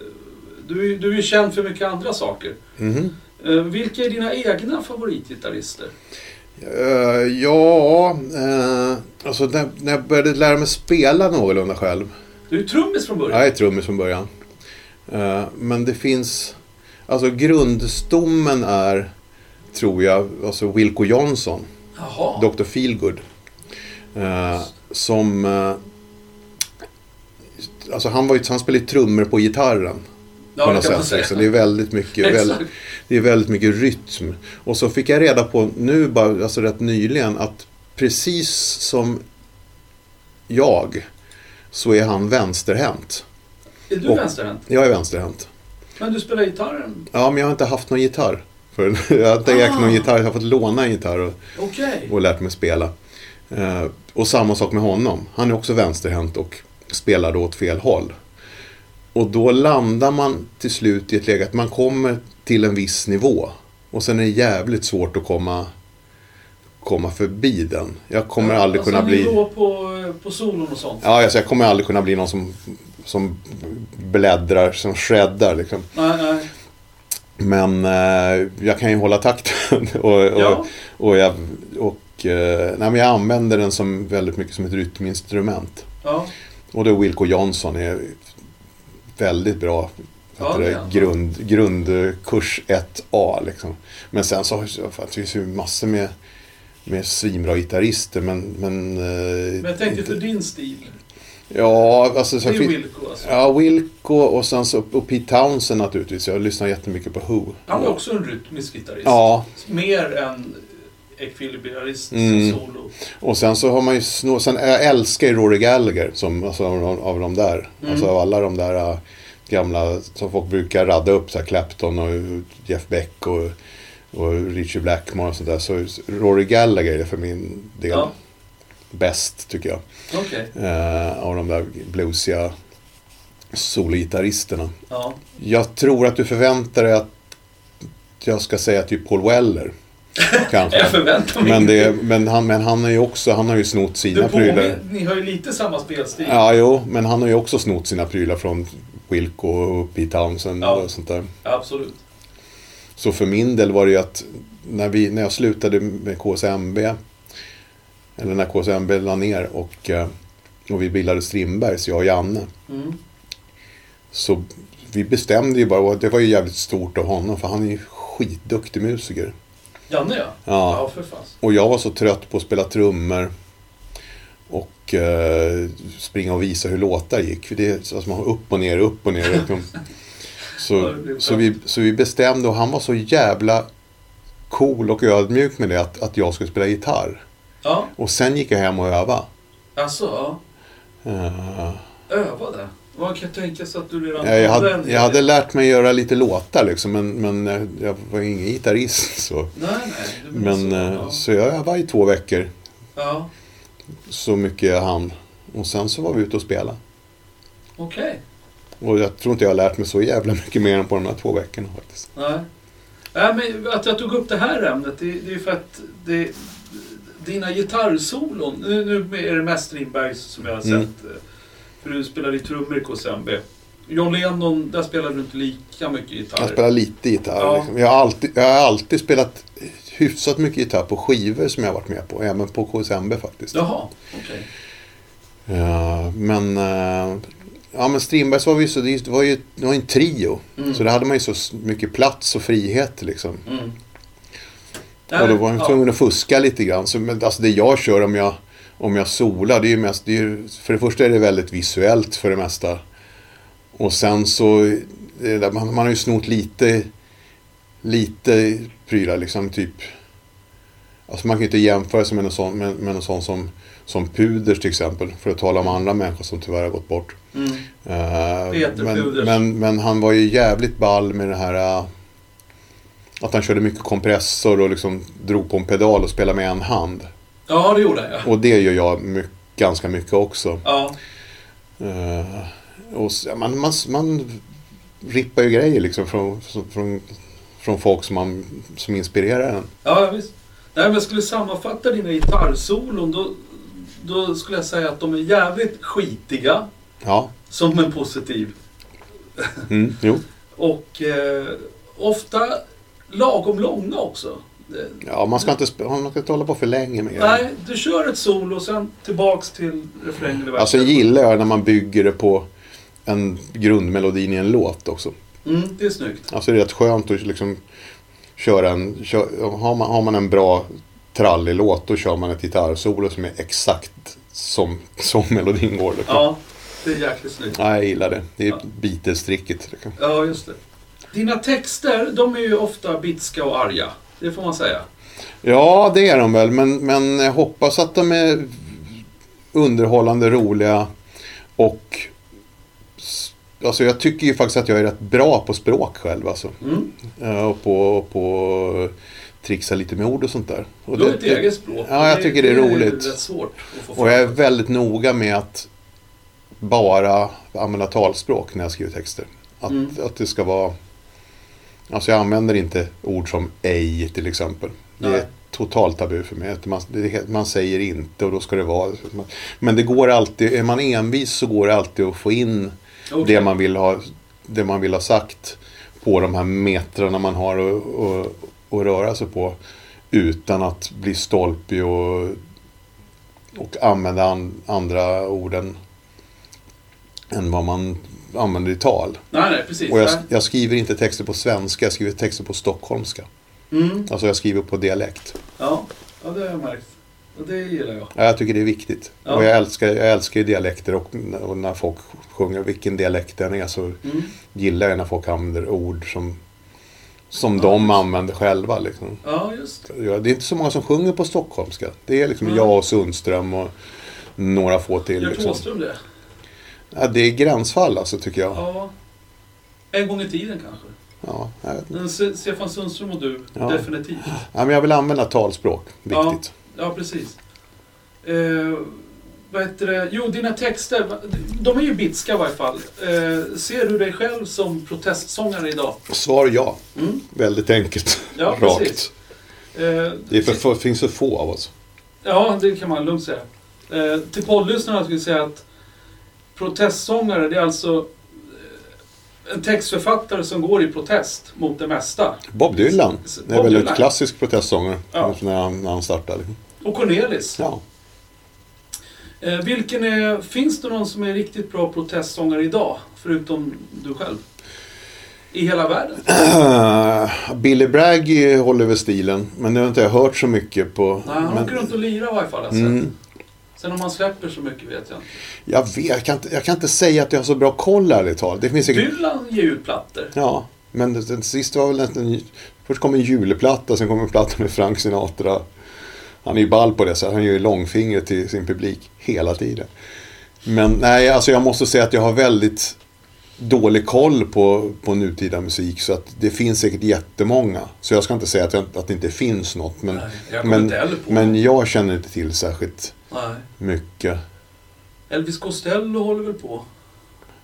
Du är, du är ju känd för mycket andra saker.
Mhm.
Eh, Vilka är dina egna favoritgitarrister?
Eh, ja, eh, alltså när, när jag började lära mig spela någorlunda själv.
Du är ju trummis från början.
Jag är trummis från början. Eh, men det finns, alltså grundstommen är, tror jag, alltså Wilco Johnson.
Jaha.
Dr. Feelgood. Eh, som... Eh, alltså han, var ju, han spelade ju trummor på gitarren.
ja,
på
det
något
kan man
sätt.
säga.
liksom. Det är väldigt mycket, väl,
Exakt.
det är väldigt mycket rytm. Och så fick jag reda på nu, bara, alltså rätt nyligen, att precis som jag så är han vänsterhänt.
Är du
Och-
vänsterhänt?
Jag är vänsterhänt.
Men du spelar gitarren?
Ja, men jag har inte haft någon gitarr. förrän. jag har inte ägt någon
Ah.
gitarr, jag har fått låna en gitarr. Och,
Okej.
och lärt mig spela. Eh, och samma sak med honom. Han är också vänsterhänt och spelar då åt fel håll. Och då landar man till slut i ett läge att man kommer till en viss nivå. Och sen är det jävligt svårt att komma, komma förbi den. Jag kommer aldrig
alltså,
kunna bli...
nivå på, eh, på solon och sånt?
Ja, alltså jag kommer aldrig kunna bli någon som, som bläddrar, som shreddar liksom.
Nej, nej.
Men eh, jag kan ju hålla takten. och, och,
Ja.
och, jag, och, eh, nej, men jag använder den som väldigt mycket som ett rytminstrument.
Ja.
Och då Wilco Johnson är väldigt bra.
Ja,
Ja,
det
det,
är han.
grund, grundkurs 1A liksom. Men sen så så fan, det finns ju massor med, med svinbra gitarrister men... Men, eh,
Men jag tänkte
inte-
för din stil.
Ja, alltså...
Det
Sen
är
fin-
Wilco alltså.
ja, Wilco och sen så, och Pete Townsend naturligtvis. Jag lyssnar jättemycket på Who.
Han var också en rytmisk gitarrist.
Ja,
Mer än ekvilibrist
Mm.
som solo.
Och sen så har man ju snå, sen jag älskar ju Rory Gallagher som, alltså, av, de- av de där.
Mm.
Alltså av alla de där äh, gamla som folk brukar radda upp. Så här Clapton och Jeff Beck och, och Richie Blackmore och sånt där. Så Rory Gallagher är för min del
Ja.
bäst tycker jag.
Okej.
Eh, av de där bluesiga sologitarristerna.
Ja.
Jag tror att du förväntar dig att jag ska säga typ Paul Weller. Kanske.
Jag förväntar mig
Men, det,
ingenting.
men, han, men han är ju också, han har ju snott
Du
sina prylar.
påminner, ni har ju lite samma spelstil.
Ja, jo, men han har ju också snott sina prylar från Wilco och Pete Townsend
Ja.
och sånt där.
Absolut.
Så för min del var det ju att när, vi, när jag slutade med KSMB, eller när KSMB la ner och, eh, och vi bildade Strindbergs, jag och Janne,
Mm.
så vi bestämde ju bara, och det var ju jävligt stort av honom, för han är ju skitduktig musiker.
Janne ja.
Ja.
Ja, för fan.
Och jag var så trött på att spela trummor och eh, springa och visa hur låtar gick. För det är alltså, man har upp och ner, upp och ner. liksom.
Ja,
Så,
det blir
så, vi, så vi bestämde och han var så jävla cool och ödmjuk med det att, att jag skulle spela gitarr.
Ja,
Och sen gick jag hem och övade.
alltså ja.
Eh,
Övade. Man kan tänka sig att du redan
jag, hade,
en-
jag hade lärt mig göra lite låtar liksom, men, men jag, jag var ingen gitarrist. Så.
Nej, nej. det blir
Men,
så,
eh,
ja.
så jag övade i två veckor,
ja.
så mycket jag hann. Och sen så var vi ute och spelade.
Okej.
Och jag tror inte jag har lärt mig så jävla mycket mer än på de här två veckorna faktiskt.
Nej. Nej, men att jag tog upp det här ämnet, det, det är för att det, dina gitarrsolon, nu, nu är det mest Strindbergs som jag har sett.
Mm.
eh, För du spelade ju trummor i KCMB. John Lennon, där spelade du inte lika mycket
Jag
gitarr.
spelar lite gitarr.
Ja.
Liksom. Jag, har alltid, jag har alltid spelat hyfsat mycket gitarr på skivor som jag har varit med på. Även på KSMB faktiskt.
Jaha, okej.
Eh, men, eh, ja, men Strindbergs var, vi så, det var ju det var ju en trio.
Mm.
Så där hade man ju så s- mycket plats och frihet liksom.
Mm.
Och då var jag
Ja.
tvungen att fuska lite grann. Så, men, alltså det jag kör om jag, om jag solar, det är ju mest... Det är ju, för det första är det väldigt visuellt för det mesta. Och sen så... det där- Man, man har ju snott lite, lite prylar liksom, typ... Alltså man kan ju inte jämföra sig med någon sån, med, med någon sån som, som Puders till exempel. För att tala om andra människor som tyvärr har gått bort.
Mm.
Eh,
Peter
men,
Puders.
men, men han var ju jävligt ball med det här eh, att han körde mycket kompressor och liksom drog på en pedal och spelade med en hand.
Ja, det gjorde jag.
Och det gör jag my- ganska mycket också.
Ja.
Eh, och s- man, man, man rippar ju grejer liksom från, från, från folk som, man, som inspirerar en.
ja, visst. Nej, men jag skulle sammanfatta dina gitarrsolon då, då skulle jag säga att de är jävligt skitiga,
Ja,
som en positiv.
mm, jo.
Och eh, ofta lagom långa också. Det-
Ja, man ska inte, sp- man ska inte hålla på för länge med grejer.
Nej, du kör ett solo och sen tillbaks till refrängen eller
Alltså
versen.
gillar jag när man bygger det på en grundmelodin i en låt också.
Mm, det är snyggt.
Alltså det är rätt skönt att liksom köra en... Kö, har, man, har man en bra trallig låt då kör man ett gitarrsolo som är exakt som, som melodin går. Liksom.
Ja, det är jäkligt snyggt.
Nej, jag gillar det. Det är
Ja.
Beatles-tricket. Liksom.
Ja, just det. Dina texter, de är ju ofta bitska och arga. Det får man säga.
Ja, det är de väl. Men, men jag hoppas att de är underhållande, roliga och... s- Alltså jag tycker ju faktiskt att jag är rätt bra på språk själv alltså.
Mm.
Eh, Och på, och på trixa lite med ord och sånt där. Och
Du har ett eget språk.
Ja, jag tycker det är
Det
roligt.
är rätt svårt att få fram.
Och jag är väldigt noga med att bara använda talspråk när jag skriver texter. Att,
Mm.
att det ska vara... Alltså jag använder inte ord som ej till exempel. Det
Nej.
är totalt tabu för mig. Att Man, det, är helt- man säger inte och då ska det vara... Men det går alltid, är man envis så går det alltid att få in
Okej.
det, man vill ha, det man vill ha sagt på de här metrarna man har att- att att röra sig på. Utan att bli stolpig och, och använda an, andra ord än, än vad man använder i tal.
Nej, nej, precis.
Och jag,
Nej.
jag skriver inte texter på svenska, jag skriver texter på stockholmska.
Mm.
Alltså jag skriver på dialekt.
Ja. ja, det har jag märkt. Och det gillar jag.
Ja, Jag tycker det är viktigt.
Ja.
Och jag älskar, jag älskar ju dialekter och, och när folk sjunger vilken dialekt den är så
Mm.
gillar jag när folk använder ord som, som de använder själva. Liksom.
Ja, just det.
Ja, Det är inte så många som sjunger på stockholmska. Det är liksom
Nej.
jag och Sundström och några få till.
Gör
Liksom.
Thåström det?
Ja, det är gränsfall alltså tycker jag.
Ja. En gång i tiden kanske.
Ja, jag vet inte.
Men Se- Stefan Sundström och du,
Ja.
definitivt.
ja, men jag vill använda talspråk.
Ja.
Viktigt.
Ja, precis. Eh, vad heter det? Jo, dina texter, va- de är ju bitska i varje fall. Eh, ser du dig själv som protestsångare idag?
Svar ja.
Mm.
Väldigt enkelt.
Ja,
Rakt.
precis. Eh,
Det är för, för, finns så få av oss.
Ja, det kan man lugnt säga. Eh, till poddlyssnarna skulle jag säga att protestsångare, det är alltså eh, en textförfattare som går i protest mot det mesta.
Bob Dylan
S-
det är
Bob
väl
Dylan.
ett klassisk protestsångare
Ja.
när, han, när han startade. liksom.
Och Cornelis.
Ja.
Eh, vilken är, finns det någon som är riktigt bra protestsångare idag? Förutom du själv? I hela världen?
Billy Bragg eh, håller väl stilen, men nu har inte jag hört så mycket på...
Nej, han
men,
åker runt och lirar i varje fall. Alltså.
Mm.
Sen om han släpper så mycket vet jag inte.
Jag, vet, jag, kan inte, jag kan inte säga att jag har så bra koll ärligt talat. Det finns säkert...
Dylan ger ut plattor.
Ja, men den- den sista var väl nästan... Först kom en julplatta, sen kom en platta med Frank Sinatra. Han är ju ball på det, så han gör ju långfingret till sin publik hela tiden. Men nej, alltså jag måste säga att jag har väldigt dålig koll på, på nutida musik. Så att det finns säkert jättemånga. Så jag ska inte säga att, jag, att det inte finns något. Men,
Nej, jag kommer
Mm. men,
inte heller på
men jag känner inte till särskilt
Nej.
mycket.
Elvis Costello håller väl på?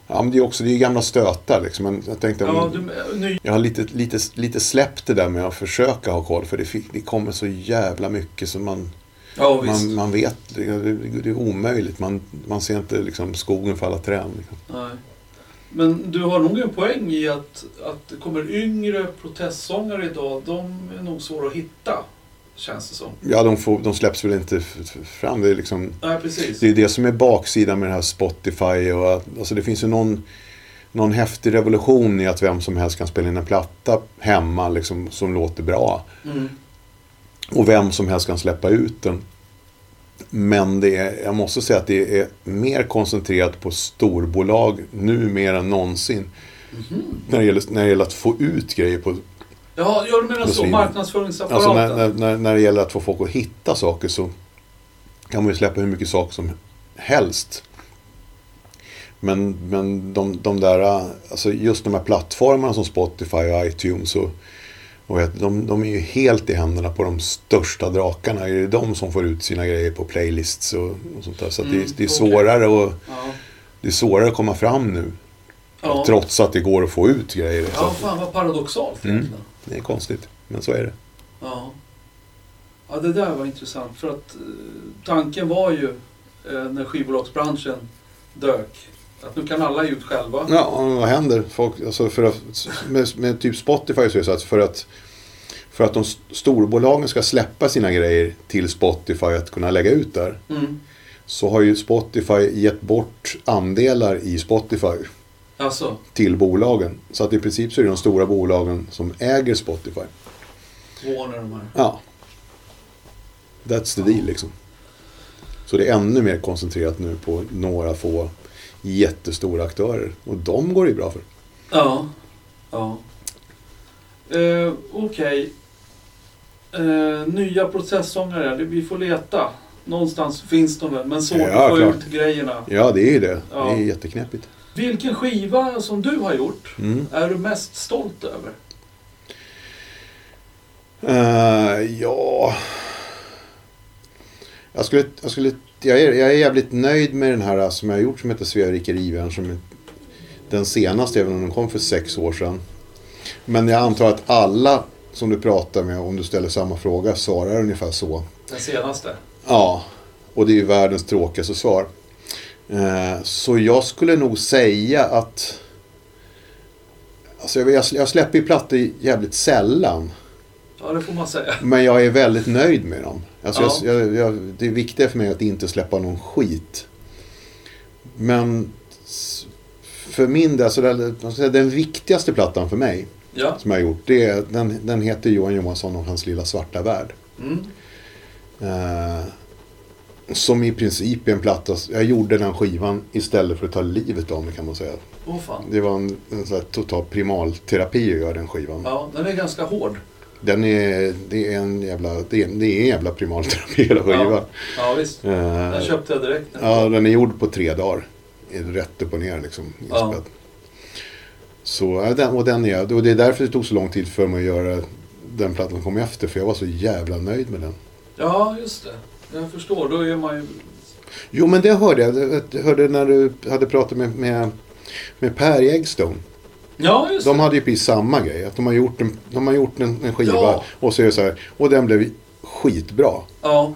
Ja, men det är också det är ju gamla stötar liksom. Men jag tänkte om...
Ja, du, ny,
Jag har lite, lite, lite släppt det där med att försöka ha koll. För det, fick, det kommer så jävla mycket som man,
ja visst.
man, man vet. Det, det, det är omöjligt. Man, man ser inte liksom skogen för alla träd. Liksom.
Nej. Men du har nog en poäng i att, att det kommer yngre protestsångare idag. De är nog svåra att hitta. Känns det som.
Ja, de, får, de släpps väl inte f- f- fram. Det är, liksom,
Nej, precis.
det är det som är baksidan med det här Spotify. Och att, alltså det finns ju någon, någon häftig revolution i att vem som helst kan spela in en platta hemma liksom, som låter bra.
Mm.
Och vem som helst kan släppa ut den. Men det är, jag måste säga att det är mer koncentrerat på storbolag nu mer än någonsin. När, det gäller, när det gäller att få ut grejer på...
Ja, ja, du menar så.
Muslimer.
Marknadsföringsapparaten.
Alltså när, när, när, när det gäller att få folk att hitta saker så kan man ju släppa hur mycket saker som helst. Men, men de, de där, alltså just de här plattformarna som Spotify och iTunes och, och vet, de, de är ju helt i händerna på de största drakarna. Är det de som får ut sina grejer på playlists och, och sånt där. Så att
Mm,
det, det, är
okej.
svårare att,
Ja.
det är svårare att komma fram nu.
Ja.
Trots att det går att få ut grejer. Så
ja,
att
fan vad paradoxalt
Mm.
egentligen.
det är konstigt, men så är det.
Ja. ja, det där var intressant. För att eh, tanken var ju eh, när skivbolagsbranschen dök att nu kan alla ge ut själva.
Ja, men vad händer? Folk, alltså för att, med, med typ Spotify så är det så att för att, för att de s- storbolagen ska släppa sina grejer till Spotify att kunna lägga ut där
Mm.
så har ju Spotify gett bort andelar i Spotify
Alltså,
till bolagen. Så att i princip så är det de stora bolagen som äger Spotify.
Warner och de här.
Ja. That's the deal liksom. Så det är ännu mer koncentrerat nu på några få jättestora aktörer. Och de går det ju bra för.
Ja. ja. Eh, Okej. Eh, nya processångare. Det- Vi får leta. Någonstans finns de väl, men svårt
Ja,
att få
klart.
ut grejerna.
Ja, det är ju det.
Ja.
Det är jätteknepigt.
Vilken skiva som du har gjort
Mm.
är du mest stolt över?
Eh, ja... Jag, skulle, jag, skulle, jag, är, jag är jävligt nöjd med den här eh, som jag har gjort som heter Sverige Riven. Som är den senaste, även om den kom för sex år sedan. Men jag antar att alla som du pratar med, om du ställer samma fråga, svarar ungefär så.
Den senaste?
Ja, och det är ju världens tråkigaste svar. Eh, Så jag skulle nog säga att... Alltså jag, jag- jag släpper ju plattor jävligt sällan.
Ja, det får man säga.
Men jag är väldigt nöjd med dem. Alltså
Ja.
jag, jag, jag, det viktiga för mig är att inte släppa någon skit. Men s- för min del, så där, man ska säga, den viktigaste plattan för mig
Ja.
som jag har gjort, det är, den, den heter Johan Johansson och hans lilla svarta värld.
Mm.
Eh, som i princip är en platta, jag gjorde den skivan istället för att ta livet av mig kan man säga.
Åh fan.
Det var en, en sån här total primalterapi att göra den skivan.
Ja, den är ganska hård.
Den är, det är en jävla, det är, det är en jävla primalterapi hela skivan.
Ja, visst.
Ja.
Den köpte jag direkt.
Eh, ja, den är gjord på tre dagar. Rätt upp och ner liksom.
Ja.
inspelad. Så, ja, den, och, den är, och det är därför det tog så lång tid för mig att göra den plattan som kom efter. För jag var så jävla nöjd med den.
Ja, just det. Jag förstår. Då är man ju...
Jo, men det hörde jag. Jag hörde när du hade pratat med, med, med Per i Eggstone.
Ja, just det.
De hade ju precis samma grej. Att de har gjort en, de har gjort en, en skiva
Ja.
och så är det så här. Och den blev skitbra.
Ja.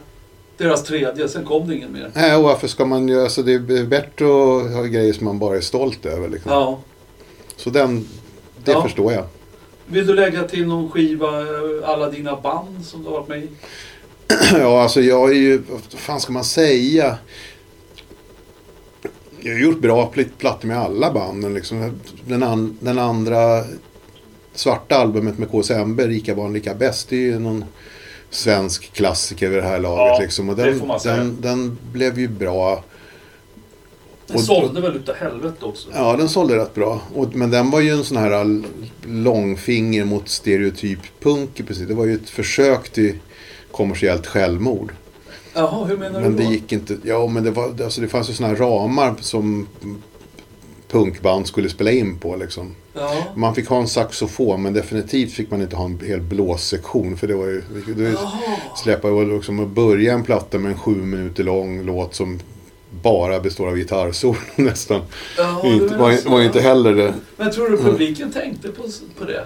Deras tredje, sen kom det ingen mer.
Nej, och varför ska man göra... Alltså det är bättre att ha grejer som man bara är stolt över. Liksom.
Ja.
Så den... Det
Ja.
förstår jag.
Vill du lägga till någon skiva, eh, alla dina band som du har varit med i?
ja, alltså jag är ju... Vad fan ska man säga? Jag har gjort bra pl- plattor med alla banden. Liksom. Den, an, den andra svarta albumet med KSMB, Rika barn lika bäst, det är ju någon svensk klassiker vid det här laget.
Ja,
liksom. och
det
den,
får man säga.
den, den blev ju bra.
Den
Och-
sålde väl utav helvete också?
Ja, den sålde rätt bra. Och, men den var ju en sån här all- långfinger mot stereotyp punk i princip. Det var ju ett försök till kommersiellt självmord.
Jaha, hur menar
Men
du
det
då?
gick inte. Ja, men det, var, alltså det fanns ju såna här ramar som punkband skulle spela in på liksom.
Ja.
Man fick ha en saxofon men definitivt fick man inte ha en hel blåssektion för det var ju... Det var ju
Jaha.
släppa och liksom att börja en platta med en sju minuter lång låt som bara består av gitarrsolon nästan.
Ja,
Det är
du
inte,
menar
var,
så.
var inte heller det.
Men tror
Mm.
du publiken tänkte på, på det?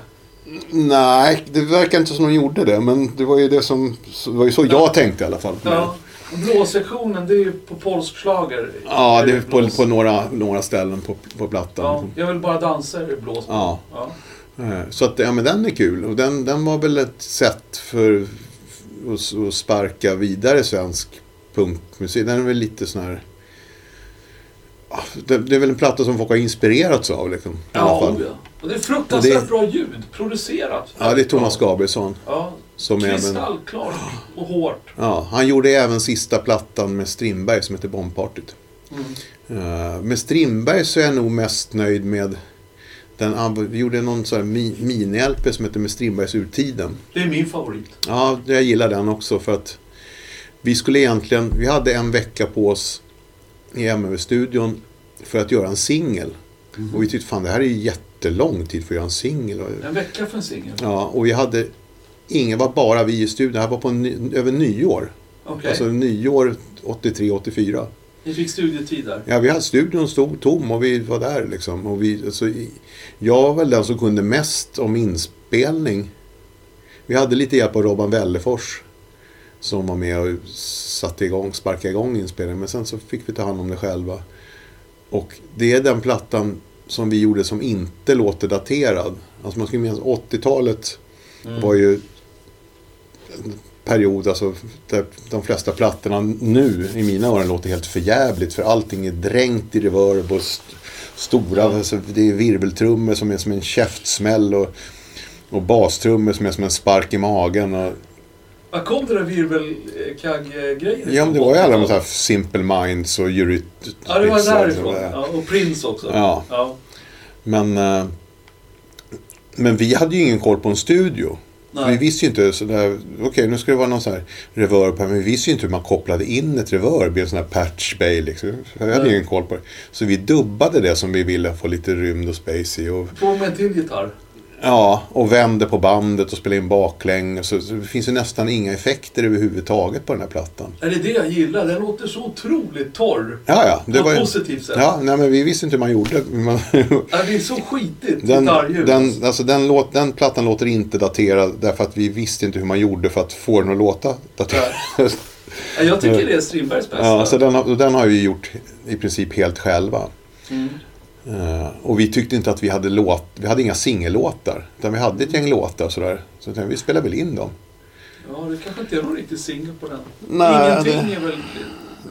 Nej, det verkar inte som de gjorde det. Men det var ju det som... Det var ju så jag tänkte i alla fall.
Ja. Och Blåsektionen, det är ju på polsk schlager.
Ja, det är på,
blås.
på några, några ställen på, på plattan.
Ja, jag vill bara dansa är det blås. på.
Ja.
Ja.
Eh, Så att, ja men den är kul. Och den, den var väl ett sätt för och, och sparka vidare svensk punkmusik. Den är väl lite sån här... Ah, Det, det är väl en platta som folk har inspirerats av liksom. I alla
Ja,
fall.
ja. Och det är fruktansvärt
Och det-
bra ljud, producerat.
Ja, det är Thomas Gabrielsson.
Ja,
Som är, men,
kristallklart och hårt.
ja, han gjorde även sista plattan med Strindberg som heter Bombpartyt.
Mm.
Eh, Med Strindberg så är jag nog mest nöjd med den, han- vi gjorde någon sån här mi- mini-LP som heter Med Strindbergs urtiden.
Det är min favorit.
Ja, jag gillar den också för att vi skulle egentligen, vi hade en vecka på oss i MV-studion för att göra en singel. Och vi tyckte fan det här är ju jättelång tid för att göra en singel. Och-
En vecka för en singel.
Ja, och vi hade, ingen var bara vi i studion, det här var på ny, över nyår.
Okej.
Alltså nyår 83-84.
Ni fick studietid där.
Ja, vi hade, studion stod tom och vi var där liksom. Och vi, alltså, i- jag var väl den som kunde mest om inspelning. Vi hade lite hjälp av Robban Wellefors som var med och satte igång, sparkade igång inspelningen. Men sen så fick vi ta hand om det själva. Och det är den plattan som vi gjorde som inte låter daterad. Alltså man ska ju minnas 80-talet var ju en period alltså, där de flesta plattorna nu i mina öron låter helt förjävligt för allting är dränkt i reverb och st- stora, alltså, det är virveltrummor som är som en käftsmäll och, och bastrummor som är som en spark i magen. Och,
Var kom det där virvelkagg-grejen
ja, men det var ju alla de så här Simple Minds och Euryt...
Ja, det var därifrån. Ja, och Prince också.
Ja.
ja.
Men, eh, men vi hade ju ingen koll på en studio.
Nej.
Vi visste ju inte, sådär, okej nu ska det vara någon sån här reverb här, men vi visste ju inte hur man kopplade in ett reverb i en sån här patch bay liksom. Jag hade
Nej.
ju ingen koll på det. Så vi dubbade det som vi ville få lite rymd och space i. Och,
På med en till gitarr.
ja, och vände på bandet och spelade in baklänges. Så, så det finns ju nästan inga effekter överhuvudtaget på den här plattan.
Är det det jag gillar? Den låter så otroligt torr.
Ja, ja. Det
På
var
ett
ju,
positivt sätt.
ja, nej men vi visste inte hur man gjorde. Man,
Ja, det är så skitigt
Den,
gitarrljud.
den, alltså den, låt, den plattan låter inte daterad därför att vi visste inte hur man gjorde för att få den att låta daterad.
Ja, jag tycker det är Strindbergs bästa.
ja, alltså så den, har- och den har vi gjort i princip helt själva.
Mm.
Eh, och vi tyckte inte att vi hade låt, vi hade inga singellåtar. Utan vi hade ett gäng låtar sådär. Så tänkte vi, vi spelar väl in dem.
ja, det kanske inte är någon riktig singel på den.
Nej,
Ingenting är väl...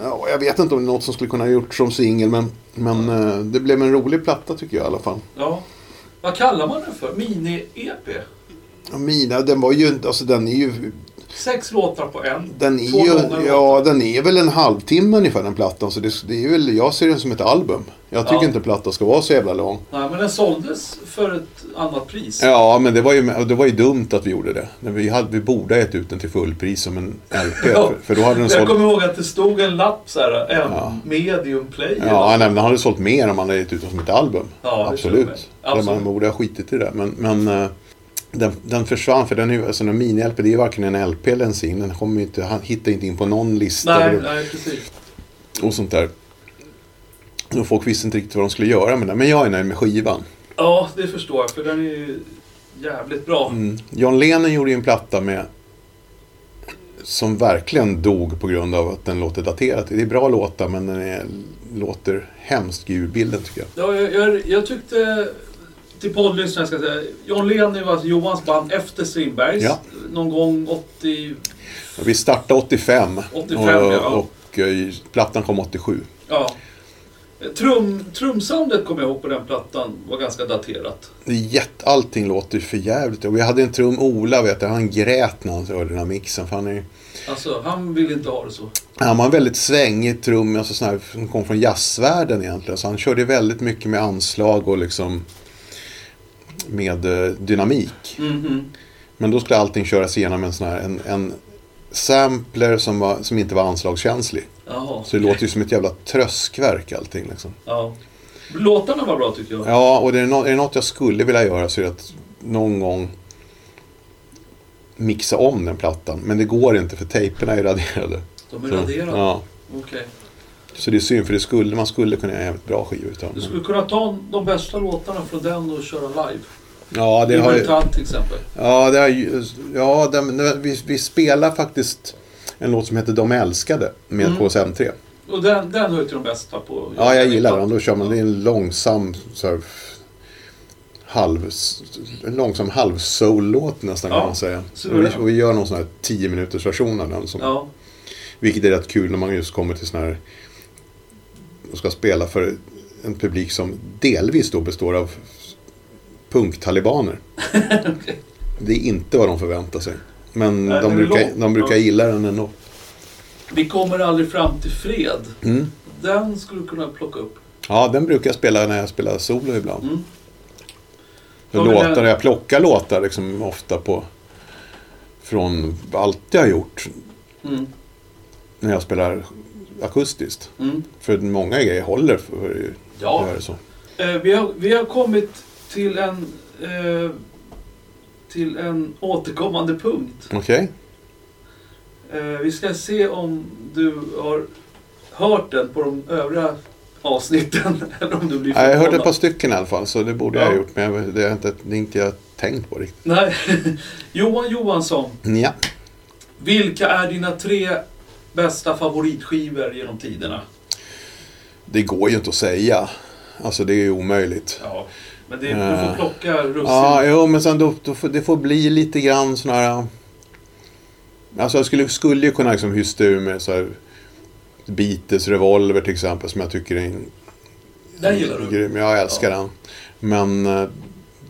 Ja, jag vet inte om det är något som skulle kunna ha gjorts som singel men, men eh, det blev en rolig platta tycker jag i alla fall.
Ja. Vad kallar man den för? Mini-EP?
Ja, Mina, den var ju inte, alltså den är ju
Sex låtar på en.
Den är,
Två
ju,
långa
ja, den är väl en halvtimme ungefär den plattan. Så det, det är väl, jag ser den som ett album. Jag tycker
Ja.
inte en platta ska vara så jävla lång.
Nej, men den såldes för ett annat pris.
Ja, men det var ju, det var ju dumt att vi gjorde det. Men Vi, hade, vi borde ha gett ut den till fullpris som en LP.
Ja.
för, för då hade den
jag
sålt...
kommer ihåg att det stod en lapp så här, en
Ja.
medium player.
Ja, nej, men den hade sålt mer om man hade gett ut den som ett album.
Ja, det tror jag
Absolut.
med.
Där
Absolut.
Man borde ha skitit i det. Men, men eh, den, den försvann, för den, är ju- alltså, en mini-LP, det är ju varken en LP eller en singel. Den kommer ju inte, han hittar inte in på någon lista.
Nej,
eller-
nej, precis.
och sånt där. Och folk visste inte riktigt vad de skulle göra med den. Men jag är nöjd med skivan.
Ja, det förstår jag, för den är ju jävligt bra.
Mm. John Lennon gjorde ju en platta med som verkligen dog på grund av att den låter daterad. Det är bra låtar men den är, låter hemskt ur bilden tycker jag.
Ja, jag, jag, jag tyckte, till poddlyssnarna ska jag säga, John Lennon var alltså Johans band efter Strindbergs.
Ja.
Någon gång 80...
Vi startade 85,
85,
och,
ja.
och eh, plattan kom 87.
Ja. Trum, trumsoundet kommer jag ihåg på den plattan var ganska daterat.
Det är jätte, allting låter för jävligt. Och vi hade en trum, Ola vet jag, han grät när han hörde den här mixen. För han är,
Alltså, han ville inte ha det så.
Han var en väldigt svängig trum, alltså sån här, som kom från jazzvärlden egentligen. Så han körde väldigt mycket med anslag och liksom med eh, dynamik.
Mhm.
Men då skulle allting köras igenom en sån här, en, en sampler som, var, som inte var anslagskänslig.
Jaha.
Så det låter ju som ett jävla tröskverk allting liksom.
Ja. Låtarna var bra tycker jag.
Ja, och det är, nå- är det något jag skulle vilja göra så är det att någon gång mixa om den plattan. Men det går inte för tejperna är raderade.
De är raderade.
Ja.
Okej.
Så det är synd, för det skulle, man skulle kunna göra en jävligt bra skiva utav
Du
den.
skulle kunna ta de bästa låtarna från den och köra live.
Ja, det har, ju-
Imitant till exempel.
ja, det har, ju- ja den, vi, vi spelar faktiskt en låt som heter De älskade med
Mm.
KSM3.
Och den, den hör ju till de bästa på...
Ja, jag gillar den. Då kör man det är en långsam så här, halv, en långsam halv-soul-låt nästan
Ja,
kan man säga.
så
Och
är
vi,
det.
och vi gör någon sån här 10 minuters version av den. Som,
Ja.
Vilket är rätt kul när man just kommer till sån här och ska spela för en publik som delvis då består av punktalibaner. Det är inte vad de förväntar sig. Men
Nej,
de,
den är
brukar,
lång.
de brukar
Ja.
gilla den ändå.
Vi kommer aldrig fram till fred.
Mm.
Den skulle du kunna plocka upp.
Ja, den brukar jag spela när jag spelar solo ibland.
Mm.
Jag,
Ja, men
låtar,
den-
jag plockar låtar liksom ofta på från allt jag har gjort
Mm.
när jag spelar akustiskt.
Mm.
För många grejer håller för att
Ja,
göra så.
eh, vi har, vi har kommit till en, eh, till en återkommande punkt.
Okej,
Eh, vi ska se om du har hört den på de övriga avsnitten. eller om du blir
Nej, jag hörde ett
förvånad.
par stycken i alla fall så det borde jag ha
Ja.
gjort men jag- det har inte, det är inte jag tänkt på riktigt.
Nej. Johan Johansson,
Ja.
vilka är dina tre bästa favoritskivor genom tiderna?
Det går ju inte att säga. Alltså det är ju omöjligt.
Ja, men det, du får
Eh.
plocka russin.
Ja, jo, men sen då, då, får- det får bli lite grann sån här... äh, Alltså jag skulle, skulle ju kunna liksom hysta ur med så här Beatles Revolver till exempel som jag tycker är en
Den gillar du.
grym. Jag älskar den. Men eh,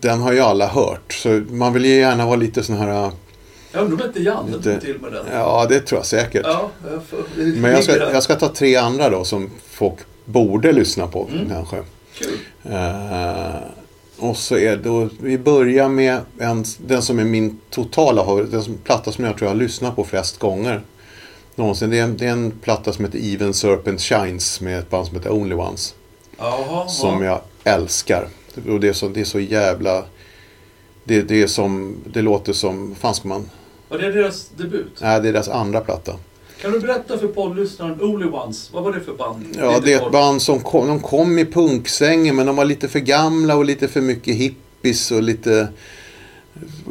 den har ju alla hört. Så man vill ju gärna vara lite sån här...
Jag undrar om inte Janne
Lite-
drog till med den.
Ja, det tror jag säkert.
Ja, jag får, det
Men jag ska,
ligger där.
jag ska ta tre andra då som folk borde lyssna på
Mm.
kanske.
Kul.
Eh, och så är då, vi börjar med en, den som är min totala favorit, den som, platta som jag tror jag har lyssnat på flest gånger. Någonsin. Det är, en, det är en platta som heter Even Serpent Shines med ett band som heter Only Ones.
Jaha,
Som
ja.
jag älskar. Och det är så, det är så jävla... Det, det är som, det låter som, fan ska man...
Var det deras debut?
Nej, det är deras andra platta.
Kan du berätta för poddlyssnaren Only Ones, vad var det för band?
Ja,
Lite
det är ett
kort.
band som kom, de kom i punksvängen men de var lite för gamla och lite för mycket hippies och lite,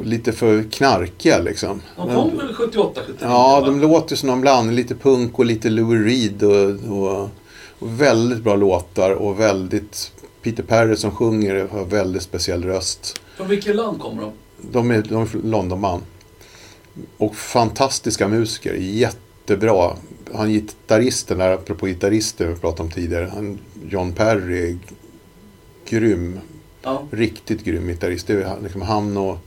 lite för knarkiga liksom.
De kom väl 78, 79?
Ja,
va?
de låter som de blandar lite punk och lite Lou Reed och, och, och väldigt bra låtar och väldigt Peter Perry som sjunger har väldigt speciell röst.
Från vilket land kommer de?
De är, de är från Londonman. Och fantastiska musiker, jättebra. Han gitarristen där, apropå gitarrister vi pratade om tidigare, han, John Perry, är grym,
Ja,
riktigt grym gitarrist. Det är han- liksom han och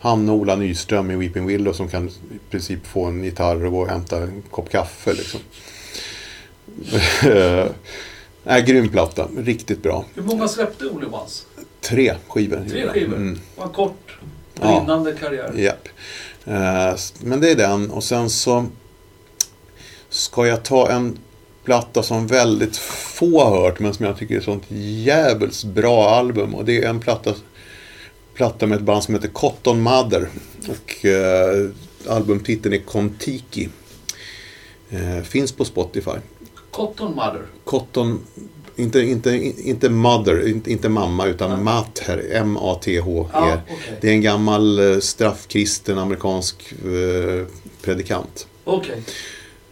han och Ola Nyström i Weeping Willow som kan i princip få en gitarr och gå och hämta en kopp kaffe. Liksom. Nej, Eh, grym platta. Riktigt bra.
hur många släppte Only Ones?
Tre skivor.
Tre skivor?
Mm.
Det var en kort,
Ja.
brinnande karriär.
Japp. Eh, s- Men det är den och sen så ska jag ta en platta som väldigt få har hört men som jag tycker är ett sånt jävels bra album och det är en platta, platta med ett band som heter Cotton Mother och eh, albumtiteln är Kontiki. Eh, finns på Spotify.
Cotton Mother.
Cotton, inte, inte, inte mother, inte, inte mamma utan
Nej.
mater, M-A-T-H-E.
Ja, okej.
Det är en gammal eh, straffkristen amerikansk eh, predikant.
Okej.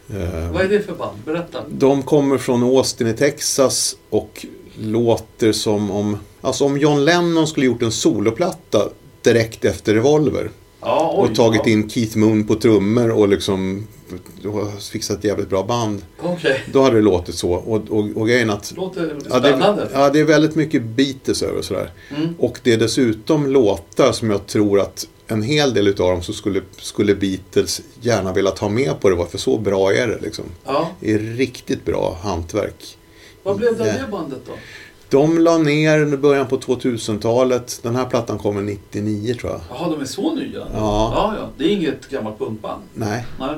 Eh,
Vad är det för band? Berätta.
De kommer från Austin i Texas och låter som om... Alltså om John Lennon skulle gjort en soloplatta direkt efter Revolver
Ja, oj,
och tagit
ja.
in Keith Moon på trummor och liksom och fixat ett jävligt bra band.
Okej.
Då hade det låtit så. Och, och, och grejen att...
Låter
Ja det,
spännande.
är, ja, det är väldigt mycket Beatles över och sådär.
Mm.
Och det är dessutom låtar som jag tror att en hel del utav dem så skulle, skulle Beatles gärna vilja ta med på det. För så bra är det liksom.
Ja.
Det är riktigt bra hantverk.
Vad blev det av
Ja.
det bandet då?
De la ner under början på 2000-talet. Den här plattan kommer 99 tror jag.
Jaha, de är så nya?
Ja.
ja, ja. Det är inget gammalt punkband?
Nej.
Nej.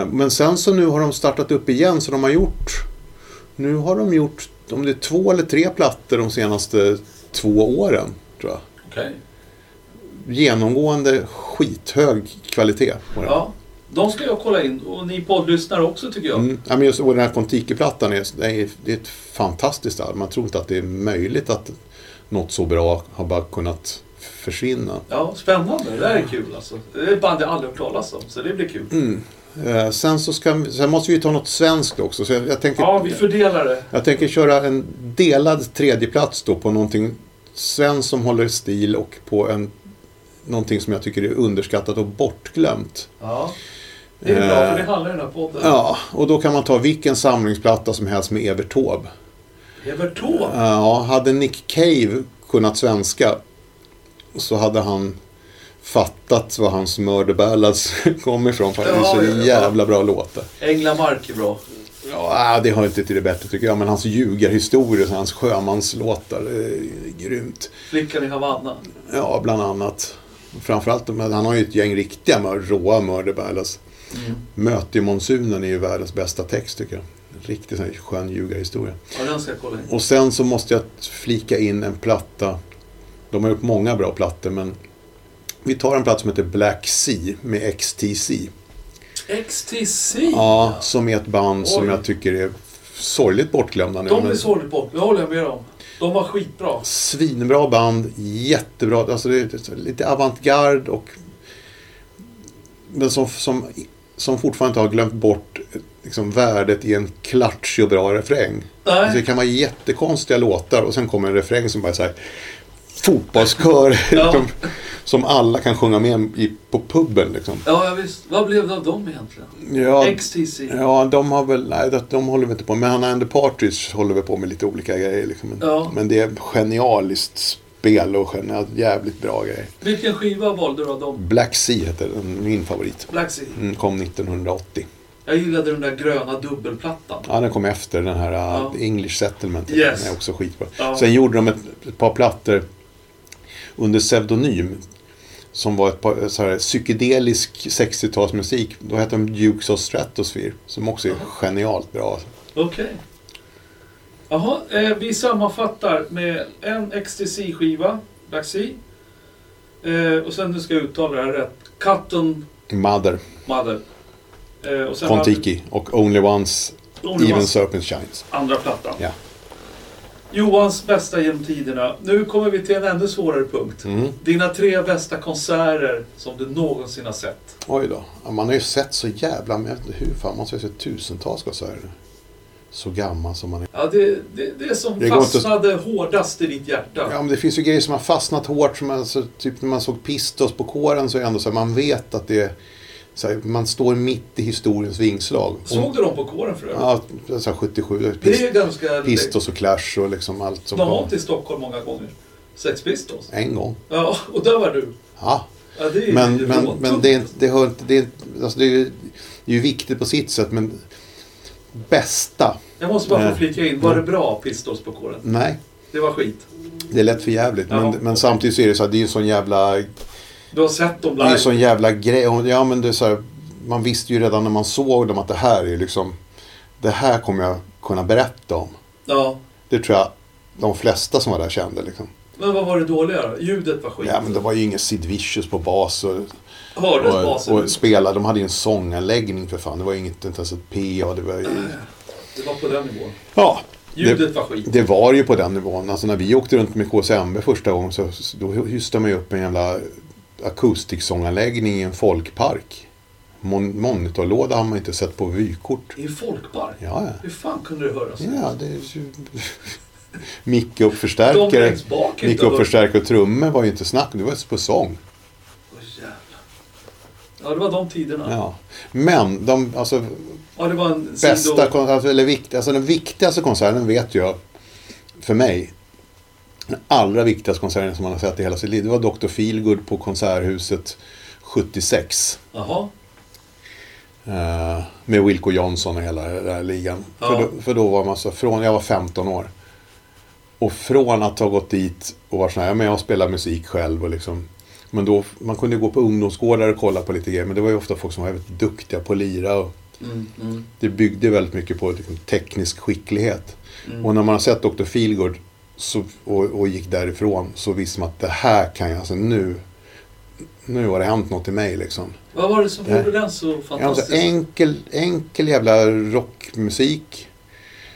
Eh, Men sen så nu har de startat upp igen så de har gjort... Nu har de gjort om det är två eller tre plattor de senaste två åren tror jag.
Okej.
genomgående skithög kvalitet på den.
Ja. De ska jag kolla in och ni poddlyssnare också tycker jag.
Mm. Ja, men just, och den här Kontiki-plattan är, det är, det är ett fantastiskt album. Man tror inte att det är möjligt att något så bra har bara kunnat försvinna.
Ja, spännande. Det här är kul alltså. Det är ett band jag aldrig hört talas om, så det blir kul.
Mm. Eh, sen, så ska, vi- sen måste vi ju ta något svenskt också. Så jag, jag, tänker,
Ja, vi fördelar det.
jag tänker köra en delad tredjeplats då på någonting Svensson håller stil och på en, någonting som jag tycker är underskattat och bortglömt.
Ja. Det är bra, för det handlar den här podden.
Eh, Ja, och då kan man ta vilken samlingsplatta som helst med Evert Taube.
Evert Taube.
Eh, Ja, hade Nick Cave kunnat svenska så hade han fattat var hans mörderballads kom ifrån. För det är
Ja, ja,
så
ja.
jävla bra låtar.
Änglamark är bra.
Ja, äh, det hör inte till det bättre tycker jag. Men hans ljugarhistorier, så hans sjömanslåtar, det är grymt.
Flickan i Havanna.
Ja, bland annat. Framförallt, de här- han har ju ett gäng riktiga mör- råa mörderballads.
Mm.
Möte i monsunen är ju världens bästa text tycker jag. En Riktigt sån här skön ljugarhistoria.
Ja, den ska jag kolla in.
Och sen så måste jag flika in en platta. De har gjort många bra plattor men vi tar en platta som heter Black Sea med XTC.
XTC!
Ja, som är ett band som
Oj.
jag tycker är sorgligt bortglömda nu.
De är
men
sorgligt bort. Det håller jag med om. De var skitbra.
Svinbra band, jättebra. Alltså det är lite avantgard och... Men som, som, som fortfarande inte har glömt bort liksom, värdet i en klatschig och bra refräng. Alltså det
Nej.
kan vara jättekonstiga låtar och sen kommer en refräng som bara är så här fotbollskör
Ja.
som, som alla kan sjunga med i, på puben liksom.
Ja, ja, visst. Vad blev det av dem egentligen?
Ja,
XTC.
ja, de har väl, nej de- de håller väl inte på med, Hannah and the Partridge håller väl på med lite olika grejer liksom. Men,
Ja.
men det är genialiskt spel och genialt, jävligt bra grejer.
Vilken skiva valde du av dem?
Black Sea heter den, min favorit.
Black Sea.
Den kom 1980.
Jag gillade den där gröna dubbelplattan.
Ja, den kom efter den här
Ja.
uh, English Settlement.
Yes.
Den är också skitbra.
Ja.
Sen gjorde de ett, ett par plattor under pseudonym. Som var ett par, så här, psykedelisk 60-talsmusik. Då hette de Dukes of Stratosphere. Som också är
Aha.
genialt bra.
Okej. Jaha, eh, vi sammanfattar med en XTC-skiva, Black Sea. Eh, och sen, nu ska jag uttala det här rätt, Cotton
Mother,
Mother. Eh, och sen
Kon-Tiki och Only Ones,
hade-
Even
Johans
Serpent Shines.
andra plattan.
Ja.
Johans bästa genom tiderna. Nu kommer vi till en ännu svårare punkt.
Mm.
Dina tre bästa konserter som du någonsin har sett.
Oj då. Ja, Man har ju sett så jävla... men Jag vet inte hur fan, man har ju sett tusentals konserter. nu. Så gammal som man är.
Ja, det, det, det som
Det går inte-
fastnade hårdast i ditt hjärta.
Ja, men det finns ju grejer som har fastnat hårt. Som alltså, typ när man såg Pistos på kåren så är det ändå så här, man vet att det är... Så här, man står mitt i historiens vingslag.
Såg du dem på kåren för övrigt?
Ja, så här 77.
Det
Pist,
är ganska...
Pistos och Clash och liksom allt som
De har
kom.
varit i Stockholm många gånger. Sex Pistols.
En gång.
Ja, och där var du.
Ja.
Ja, det är ju
Men,
ju
men,
råtungt.
men det, är inte- det hör inte... Det är, inte- alltså det är ju det är ju viktigt på sitt sätt, men... Bästa?
Jag måste bara få
Nej.
flika in. Var det bra Pistols på kåren?
Nej.
Det var skit.
Det är lätt för jävligt.
Ja.
Men, men samtidigt så är det så här, det är ju en sån jävla
Du har sett dem
Det är
live.
en sån jävla grej. Och, Ja, men det är så här, man visste ju redan när man såg dem att det här är liksom... Det här kommer jag kunna berätta om.
Ja.
Det tror jag de flesta som var där kände. Liksom.
Men vad var det dåliga då? Ljudet var skit.
Ja, men det var ju ingen Sid Vicious på bas och,
Hördes
och,
basen?
och spela. De hade ju en sånganläggning för fan. Det var ju inget, inte ens ett PA. Det var ju,
Det var på den nivån.
ja,
Ljudet
det,
var skit.
det var ju på den nivån. Alltså när vi åkte runt med KCMB första gången så då hystade man ju upp en jävla akustiksånganläggning i en folkpark. Mon- monitorlåda har man inte sett på vykort.
I en folkpark?
Ja, ja.
Hur fan kunde det höras?
Ja, det är ju... Micke och
De
förstärkare.
längst bak
Micke
inte
och
hör-
förstärkare och trummor var ju inte snack det var ju på sång.
Åh, jävlar. Ja, det var de tiderna. Ja,
Ja. Men de, alltså,
det var en
bästa
sido...
kon- alltså, eller vikt, alltså den viktigaste konserten vet jag, för mig, den allra viktigaste konserten som man har sett i hela sitt liv, det var Dr. Feelgood på Konserthuset 76.
Jaha.
eh, med Wilco Johnson och hela den där ligan.
Ja.
För, då, för då var man så, från, jag var 15 år. Och från att ha gått dit och varit så här, ja, men jag spelar musik själv och liksom. Men då, man kunde ju gå på ungdomsgårdar och kolla på lite grejer, men det var ju ofta folk som var väldigt duktiga på att lira. Och
Mm, mm,
det byggde väldigt mycket på liksom, teknisk skicklighet.
mm.
Och när man har sett Dr. Feelgood så, och, och gick därifrån så visste man att det här kan jag, alltså nu, nu har det hänt något i mig liksom.
Vad var det som
Ja.
gjorde den så
Ja,
fantastisk?
alltså enkel, enkel jävla rockmusik.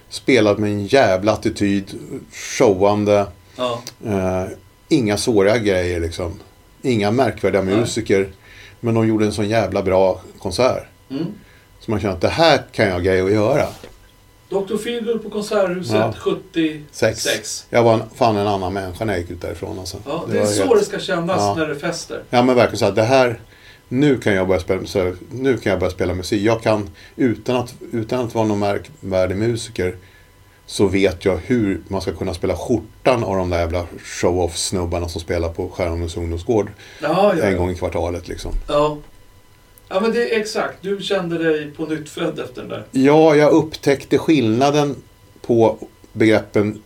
Spelad med en jävla attityd. Showande.
Ja.
Eh, inga svåra grejer liksom. Inga märkvärdiga
Nej.
musiker. Men de gjorde en sån jävla bra konsert.
Mm.
Så man känner att det här kan jag ha grejer att göra.
Dr. Feelgood på Konserthuset
Ja.
76.
Sex. Jag var en, fan en annan människa när jag gick ut därifrån alltså.
Ja, det,
var
är så
helt-
det ska kännas
Ja.
när det fäster.
Ja men verkligen så här, det här, nu kan jag börja spela, så här, nu kan jag börja spela musik. Jag kan, utan att, utan att vara någon märkvärdig musiker, så vet jag hur man ska kunna spela skjortan av de där jävla show-off-snubbarna som spelar på Skärholmens ungdomsgård
Ja, ja,
en
ja.
gång i kvartalet liksom.
ja. Ja, men det är exakt. Du kände dig på nytt född efter den där.
Ja, jag upptäckte skillnaden på begreppen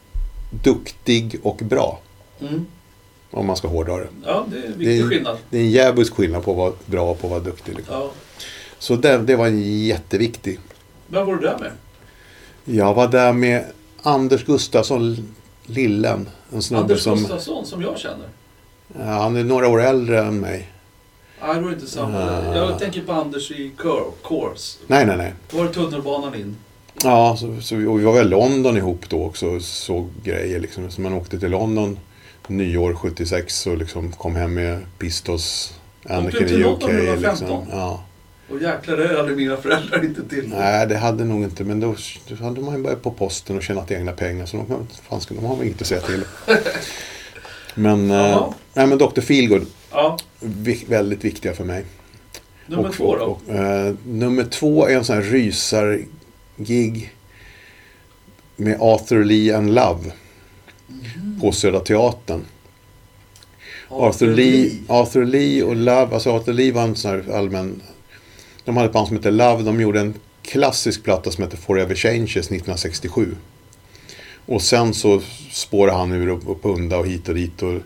duktig och bra,
Mm.
om man ska hårdra det.
Ja, det är en
Det
viktig
är-
skillnad.
Det är en djävulsk skillnad på att vara bra och på att vara duktig. Liksom.
Ja.
Så det, det var en jätteviktig
Vem var du där med?
Jag var där med Anders Gustafsson, Lillen. En snubbe
Anders
som...
Gustafsson, som jag känner.
Ja, han är några år äldre än mig.
Nej, det var inte samma.
Ah.
Jag tänker på Anders i Cor- Course.
Nej, nej, nej.
Då var det tunnelbanan in.
Ja, så, så, vi- och vi var väl i London ihop då också och såg grejer liksom. Så man åkte till London nyår 76 och liksom kom hem med Pistols, Anakin
till
i UK.
London när du var
Liksom.
15?
Ja.
Och jäklar, det hade mina föräldrar inte till.
Nej, det hade nog inte, men då, då hade man ju börjat på posten och tjänat egna pengar så de, fan, skulle- de har väl inget att säga till. Men, eh,
Jaha.
nej, men Dr. Feelgood,
Ja,
vi- väldigt viktiga för mig.
nummer
och,
två då.
Och, och, eh, nummer två är en sån här rysargig med Arthur Lee and Love
Mm.
på Södra Teatern. Arthur, Lee, Arthur Lee och Love, alltså Arthur Lee var en sån här allmän... De hade ett band som hette Love, de gjorde en klassisk platta som hette Forever Changes 1967. Och sen så spårade han ur och, och punda och hit och dit och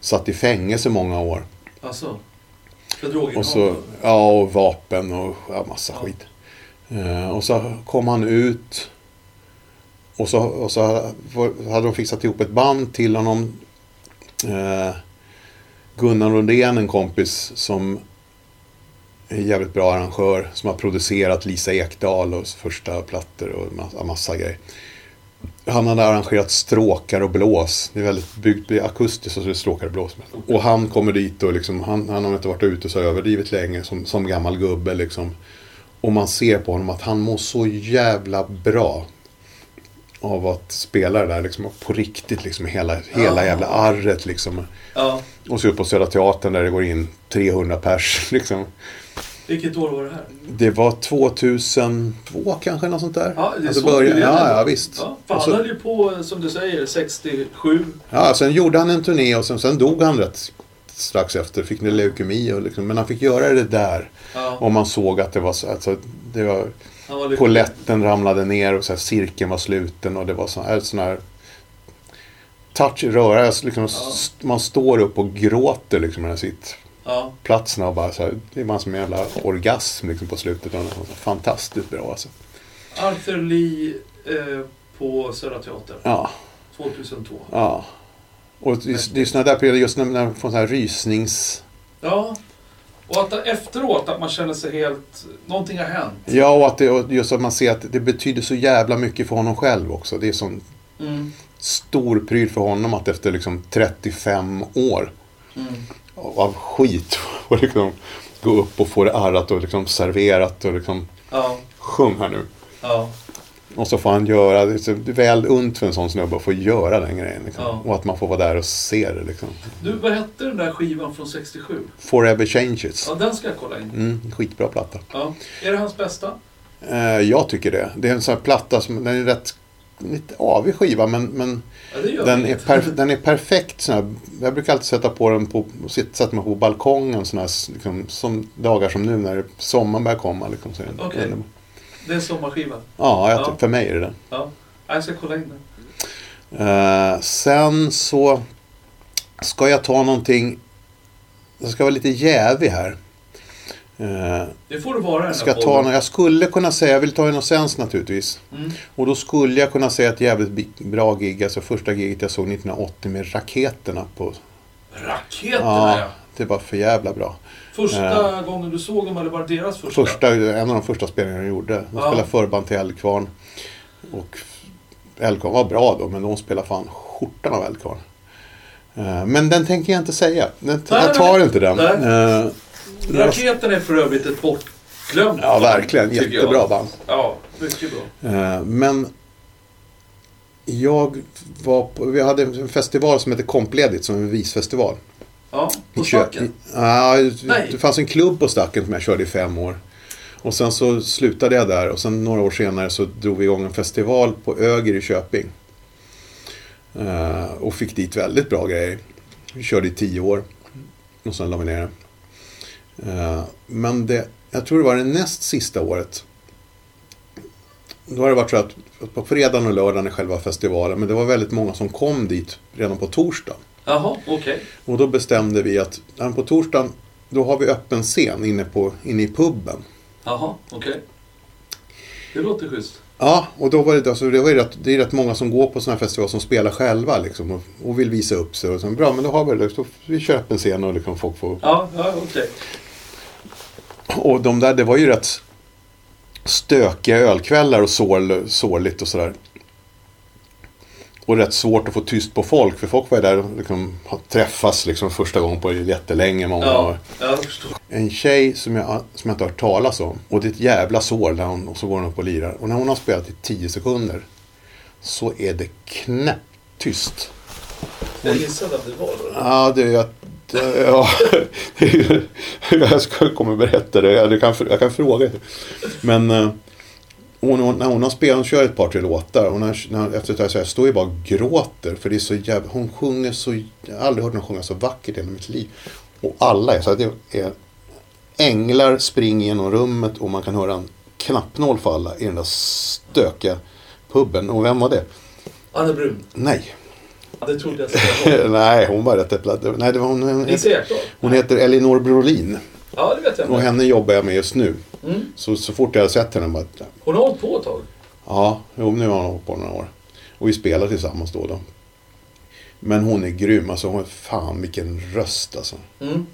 satt i fängelse många år.
Alltså, för droger.
Och så, ja, och vapen och ja, massa
Ja.
skit. Eh, och så kom han ut. Och så, och så var- hade de fixat ihop ett band till honom. Eh, Gunnar Rodén, en kompis som är en jävligt bra arrangör. Som har producerat Lisa Ekdahl och första plattor och massa, massa grejer. Han hade arrangerat stråkar och blås. Det är väldigt byggt det är akustiskt och så är det stråkar och blås. Och han kommer dit och liksom, han, han har inte varit ute så överdrivet länge som, som gammal gubbe liksom. Och man ser på honom att han mår så jävla bra av att spela det där liksom, på riktigt liksom, hela, hela
Ja.
jävla arret liksom.
Ja,
Och så upp på Södra Teatern där det går in 300 pers liksom.
vilket år var det här?
Det var 2002 kanske, något sånt där.
Ja, det är
alltså,
så
början,
tidigt.
ja, ja, visst. Alltså-
Ja, för
Och
han
så-
höll ju på, som du säger, 67.
Ja, sen gjorde han en turné och sen, sen dog han rätt strax efter. Fick ni leukemi och liksom, men han fick göra det där.
Ja,
Och man såg att det var så, alltså, det var,
han var lite-
poletten ramlade ner och så här, cirkeln var sluten och det var sån här, sån här touch i röra. Alltså, liksom, s- Man står upp och gråter liksom när sitt
Ja,
platserna och bara så här, det är man som en jävla orgasm liksom på slutet. Och det var Fantastiskt bra alltså.
Arthur Lee eh, på Södra Teatern
Ja.
2002.
Ja. Och det det är sådana där perioder, just när, när man får sådana här rysnings...
Ja, och att efteråt att man känner sig helt... Någonting har hänt.
Ja, och, att det, och just att man ser att det betyder så jävla mycket för honom själv också. Det är sån
Mm.
stor pryl för honom att efter liksom 35 år
Mm.
av skit och liksom gå upp och få det arrat och liksom serverat och liksom
Ja,
sjung här nu.
ja,
Och så får han göra, det är så väl unt för en sån snubbe att få göra den grejen. Liksom.
Ja.
Och att man får vara där och se det liksom.
Du, vad hette den där skivan från 67?
Forever changes.
Ja, den ska jag kolla in.
Mm, skitbra platta.
Ja. Är det hans bästa?
Eh, jag tycker det. Det är en sån här platta som, den är rätt, lite avig skiva men, men
Ja, det gör
den, är
inget.
perf- den är perfekt sån här, jag brukar alltid sätta på den på, sitta- sätta mig på balkongen sån här, liksom, som dagar som nu när sommaren börjar komma. Liksom, så är den,
Okej.
den-
Det är en sommarskiva.
ja, jag,
Ja.
för mig är det den.
Ja. Ja, Jag ska kolla in den.
Eh, sen så ska jag ta någonting, jag ska vara lite jävig här. Eh,
Det får du vara i den
jag,
här
ska ta,
podden.
nå- jag skulle kunna säga, jag vill ta Innocens naturligtvis.
Mm.
Och då skulle jag kunna säga ett jävligt bi- bra gig, alltså första giget jag såg 1980 med Raketerna på...
Raketerna ja.
Ja, det var för jävla bra.
Första gången du såg dem, eller var det deras första?
Första, en av de första spelningarna de gjorde. De
Ja.
spelade förband till Eldkvarn. Och Eldkvarn var bra då, men de spelade fan skjortan av Eldkvarn. Eh, Men den tänker jag inte säga. Den,
Nej,
jag tar
nej.
inte den.
Nej.
Eh, det var-
Raketen är för övrigt ett bortglömt
Ja, verkligen.
tycker jag.
Jättebra band.
Ja, mycket bra.
Eh, Men Jag var på, vi hade en festival som hette Kompledigt som en visfestival.
Ja, på
I Kö-
stacken.
Ja,
Nej.
det fanns en klubb på Stacken som jag körde i fem år. Och sen så slutade jag där och sen några år senare så drog vi igång en festival på Öger i Köping. Eh, och fick dit väldigt bra grejer. Vi körde i tio år. Och sen la vi ner det. Eh, men det, jag tror det var det näst sista året. Då har det varit så att att på fredagen och lördagen är själva festivalen, men det var väldigt många som kom dit redan på torsdagen.
Jaha, okej.
Och då bestämde vi att ja, men på torsdagen då har vi öppen scen inne, på, inne i puben.
Jaha, okej. Det låter schysst.
Ja, och då var det, alltså, det, var ju rätt, det är rätt många som går på sådana här festivaler som spelar själva liksom, och, och vill visa upp sig. Och så, bra, men då har vi det. Då, vi kör öppen scen och liksom, folk får...
Ja, ja okej.
Och de där, det var ju rätt stökiga ölkvällar och sår, sårligt och sådär. Och rätt svårt att få tyst på folk, för folk var ju där och liksom, träffas liksom, första gången på jättelänge. Många,
Ja, jag förstår.
En tjej som jag, som jag inte har hört talas om. Och det är ett jävla sår där hon, och så går hon upp och lirar. Och när hon har spelat i 10 sekunder så är det knäpptyst.
Jag gissade att det var det.
Ja, det är jag... Ja, det är ju- jag ska komma och berätta det. Jag kan, jag kan fråga. Men eh, hon, hon, när hon har spelat, hon kör ett par tre låtar. Och när, när, efter ett tag så här, jag står jag bara och gråter. För det är så jävla... Hon sjunger så... Jag har aldrig hört någon sjunga så vackert i hela mitt liv. Och alla är så här, det är änglar springer genom rummet och man kan höra en knappnål falla i den där stökiga puben. Och vem var det?
Anne Brun.
Nej.
Ja, det trodde jag skulle vara.
Nej, hon var rätt eplat. Nej, det var hon. hon
Nisse Ekdahl?
hon heter Elinor Brolin
Ja, det vet jag.
och
inte.
henne jobbar jag med just nu.
Mm.
Så, så fort jag har sett henne bara,
Hon har hållit på ett tag.
ja, jo, nu har hon hållit på några år. Och vi spelar tillsammans då och då. Men hon är grym alltså. Hon, fan vilken röst alltså.
Mm.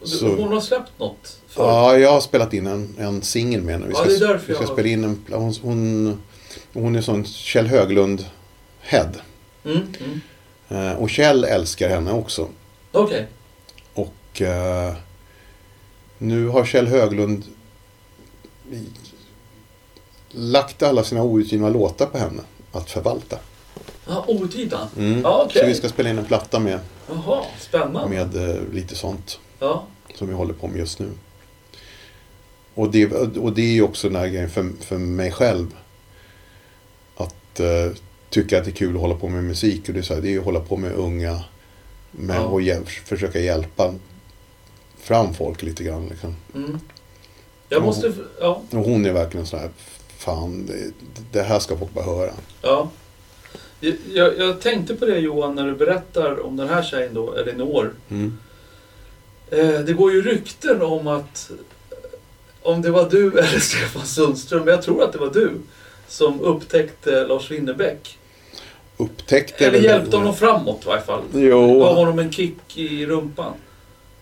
Du-
Så-
Hon har släppt något förut.
Ja, jag har spelat in en, en singel med henne. Vi
Ja,
ska,
det är därför
vi ska
jag-
spela in en, pla- hon, hon, hon är sån Kjell Höglund-head.
Mm, mm.
Eh, och Kjell älskar henne också.
Okej.
Och eh, nu har Kjell Höglund i- lagt alla sina outgivna låtar på henne att förvalta.
Ja, Otittan?
Mm.
Ja, okej.
Så vi ska spela in en platta med,
Jaha, spännande.
med eh, lite sånt
Ja.
som vi håller på med just nu. Och det, och det är ju också den här grejen för, för mig själv. Att eh, tycka att det är kul att hålla på med musik. Och det är, så här, det är ju att hålla på med unga. Med,
Ja.
Och hjäl- försöka hjälpa fram folk lite grann. Liksom.
Mm. Jag
Ja.
måste... Ja.
Och hon är verkligen sån här, fan, det, det här ska folk bara höra.
ja. Jag, jag, jag tänkte på det Johan när du berättar om den här tjejen då, Elinor. Eh, det går ju rykten om att... eh, Om det var du eller Stefan Sundström, men jag tror att det var du. Som upptäckte Lars Winnerbäck.
Upptäckte
Eller
väl-
hjälpte honom framåt i varje fall. Gav
Jo,
honom en kick i rumpan.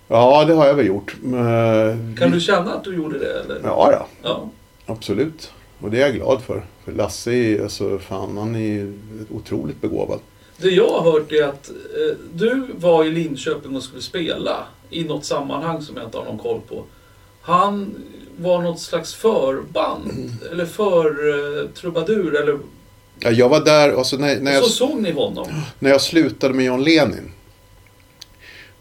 ja det har jag väl gjort. Men,
Kan du känna att du gjorde det eller?
Mm. Ja, ja,
ja.
absolut. Och det är jag glad för. För Lasse är, alltså, fan, han är ju otroligt begåvad.
Det jag har hört är att eh, du var i Linköping och skulle spela i något sammanhang som jag inte har någon koll på. Han var något slags förband
Mm.
eller för eh, trubadur eller
Ja, jag var där, alltså, när, när, jag,
så såg ni honom.
när jag slutade med John Lenin.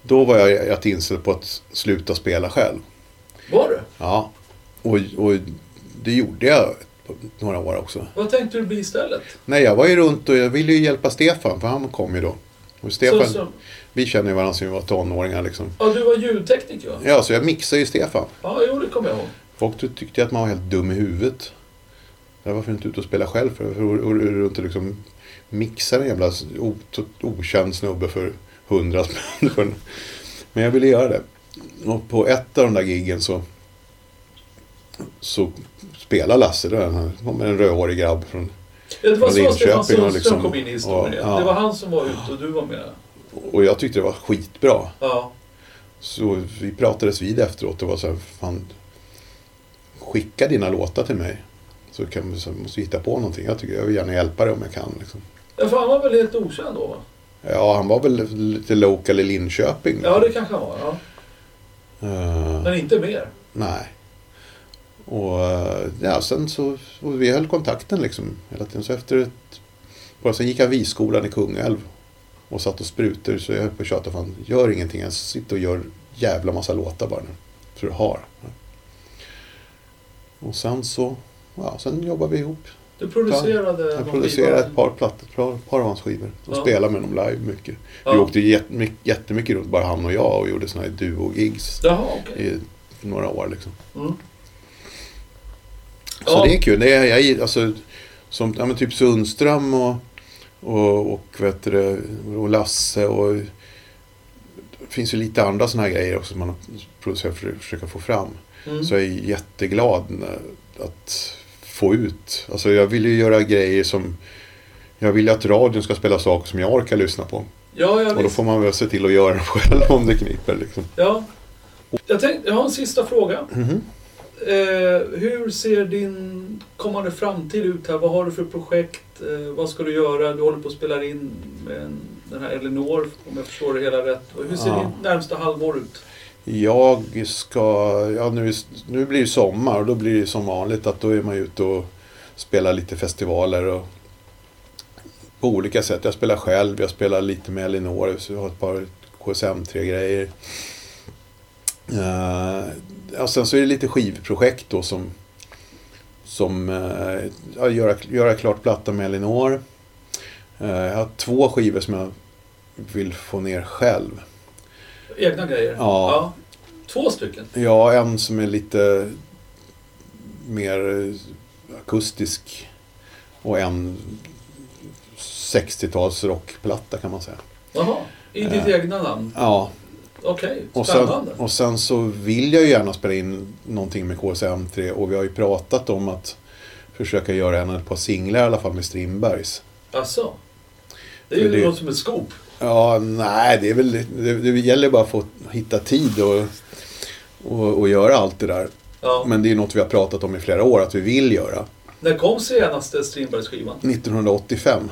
Då var jag rätt inställd på att sluta spela själv.
Var det?
Ja, och, och det gjorde jag på några år också.
Vad tänkte du bli istället?
Nej, jag var ju runt och jag ville ju hjälpa Stefan, för han kom ju då. Och Stefan,
Så, så,
vi känner ju varandra sedan vi var tonåringar liksom.
ja, du var ljudtekniker va?
Ja, så jag mixade ju Stefan.
Ja, jo det kommer jag ihåg.
Folk ty- tyckte ju att man var helt dum i huvudet. Jag var varför inte ute och spela själv för? Varför går går du runt och liksom mixar en jävla s- o- to- okänd snubbe för hundra spänn? för en- Men jag ville göra det. Och på ett av de där giggen så, så spelar Lasse, då, han kom en rödhårig grabb från
Ja, det var
Ja,
så
Linköping
Stefan
och
Sundström
liksom-
kom in i historien.
ja, ja.
Det var han som var ute och du var med.
Och jag tyckte det var skitbra.
Ja,
Så vi pratades vid efteråt och var så här, fan, skicka dina låtar till mig. Så, kan, vi- så måste vi hitta på någonting. Jag, tycker, jag vill gärna hjälpa dig om jag kan. Liksom.
ja för han var väl helt okänd då va?
Ja, han var väl lite local i Linköping.
Ja, det kanske han var. Ja.
Eh,
Men inte mer.
nej. Och eh, ja, sen så, och vi höll kontakten liksom hela tiden. Så efter ett på. Sen gick jag viskolan i Kungälv och satt och sprutor så jag höll på att tjata. Fan, gör ingenting ens. Sitt och gör jävla massa låtar bara nu. För du har. Och sen så, ja, sen jobbade vi ihop.
Du producerade
Jag
någon
producerade
skiva?
ett par plattor, ett par, ett par av hans skivor. Och
Ja.
spelade med dem live mycket. Vi
Ja.
åkte jättemy- jättemycket runt, bara han och jag, och gjorde sådana här duo-gigs
Jaha, okej.
i några år liksom.
Mm.
Så
Ja.
Mm. det är kul. Det är, jag, gill- alltså, som, ja, men typ Sundström och, och, och, vet du, det, och Lasse och... Det finns ju lite andra sådana här grejer också som man producerar för att försöka få fram.
Mm.
Så jag är jätteglad när- att få ut. Alltså jag vill ju göra grejer som... Jag vill ju att radion ska spela saker som jag orkar lyssna på.
Ja, ja,
Och då
visst.
får man väl se till att göra det själv om det kniper liksom.
ja. Jag, tänkte, jag har en sista fråga. Eh, hur ser din kommande framtid ut här? Vad har du för projekt? Eh, vad ska du göra? Du håller på att spela in med en, den här Elinor, om jag förstår det hela rätt. Och hur ser
Ja.
ditt närmsta halvår ut?
Jag ska, ja nu, är- nu blir det sommar och då blir det som vanligt att då är man ute och spelar lite festivaler och på olika sätt. Jag spelar själv, jag spelar lite med Elinor, så jag har ett par KSM3-grejer. Eh, och sen så är det lite skivprojekt då som, som eh, ja, göra, göra klart platta med Elinor. Eh, jag har två skivor som jag vill få ner själv.
Egna grejer?
Ja.
Två stycken?
Ja, en som är lite mer eh, akustisk och en 60-tals rockplatta kan man säga.
Jaha. I ditt
Eh.
egna namn?
Ja,
Okej,
och sen,
spännande.
och sen så vill jag ju gärna spela in någonting med KSM3 och vi har ju pratat om att försöka göra en eller ett par singlar i alla fall med Strindbergs.
Alltså, det är ju
För det-
något som ett skop.
Ja, nej, det är väl det, det gäller bara att få hitta tid och, och, och göra allt det där.
Ja.
Men det är ju något vi har pratat om i flera år att vi vill göra.
När kom senaste Strindbergsskivan?
1985.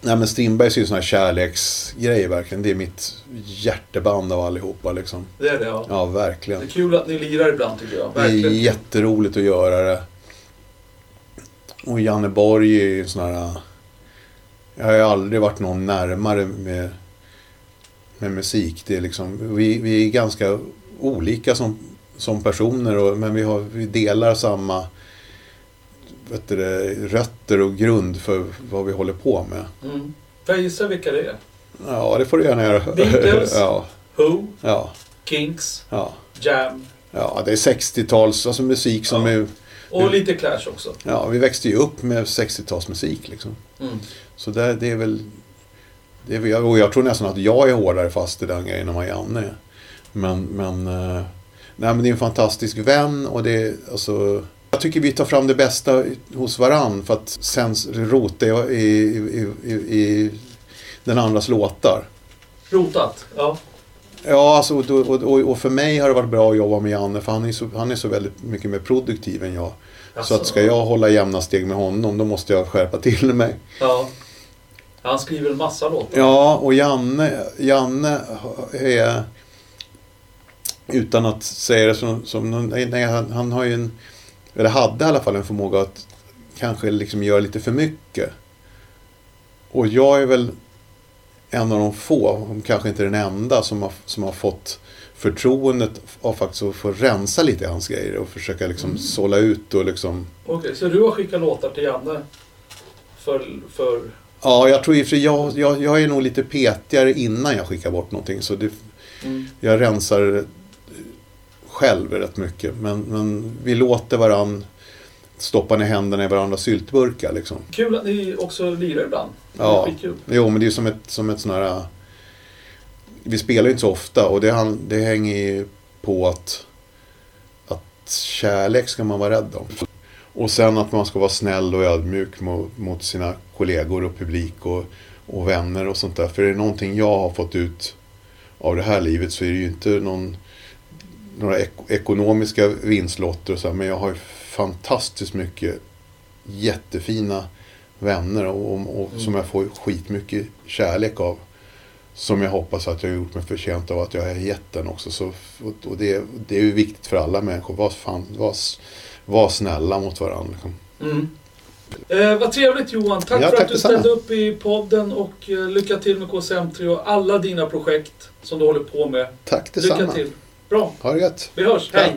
Nej men Strindbergs är ju sån här kärleksgrej verkligen. Det är mitt hjärteband av allihopa liksom.
Det är det ja.
Ja,
Det är
verkligen.
kul att ni lirar ibland tycker jag.
Det är
Verkligen.
jätteroligt att göra det. Och Janne Borg är ju en sån här... Jag har ju aldrig varit någon närmare med, med musik. Det är liksom, vi, vi är ganska olika som, som personer och, men vi, har, vi delar samma vet du, det, rötter och grund för vad vi håller på med.
Mm. Får jag gissa vilka det är?
Ja, det får du gärna göra.
Beatles?
ja,
Who,
ja,
Kinks,
ja,
Jam
ja, det är 60-tals, alltså musik som
Ja.
är...
och lite Clash också.
Ja, vi växte ju upp med 60-talsmusik liksom.
Mm.
Så där, det är väl... Det är, väl- och jag tror nästan att jag är hårdare fast i den grejen än vad Janne är. Men, men... eh, Nej, men det är en fantastisk vän och det är alltså... Jag tycker vi tar fram det bästa hos varann för att sen rota i, i, i, i, i den andras låtar.
Rotat. Ja.
Ja, alltså, och, och, och, och för mig har det varit bra att jobba med Janne för han är så, han är så väldigt mycket mer produktiv än jag.
Alltså,
Så att ska jag hålla jämna steg med honom då måste jag skärpa till mig.
Ja. Han skriver en massa låtar.
Ja, och Janne, Janne är... Utan att säga det som... som någon- nej, nej, han, han har ju en... Eller hade i alla fall en förmåga att kanske liksom göra lite för mycket. Och jag är väl en av de få, om kanske inte den enda, som har, som har fått förtroendet av faktiskt att få rensa lite i hans grejer och försöka liksom sålla ut och liksom...
Okej, så du har skickat låtar till Janne? För, för...
Ja, jag tror i och för sig- jag, jag, jag är nog lite petigare innan jag skickar bort någonting. Så det,
Mm.
Jag rensar själv rätt mycket. Men, men vi låter varann stoppa ner händerna i varandras syltburkar. Liksom.
Kul att ni också lirar ibland.
Ja.
Det är skitkul.
Jo, men det är ju som ett, som ett sån här... äh, Vi spelar ju inte så ofta och det, han- det hänger ju på att, att kärlek ska man vara rädd om. Och sen att man ska vara snäll och ödmjuk mot, mot sina kollegor och publik och, och vänner och sånt där. För är det någonting jag har fått ut av det här livet så är det ju inte någon, några ek, ekonomiska vinstlotter och så här, men jag har ju fantastiskt mycket jättefina vänner och, och, och
Mm.
som jag får skitmycket kärlek av. Som jag hoppas att jag har gjort mig förtjänt av att jag har gett den också. Så, och och det, det är ju viktigt för alla människor. Var, fan, var, s- var snälla mot varandra. Liksom.
Mm. Eh, vad trevligt Johan. Tack
Ja,
för
tack
att du
detsamma.
ställde upp i podden och eh, lycka till med KCM3 och alla dina projekt som du håller på med.
Tack
Lycka
detsamma.
till. Bra.
Ha det gött.
Vi hörs.
Ja.
Hej.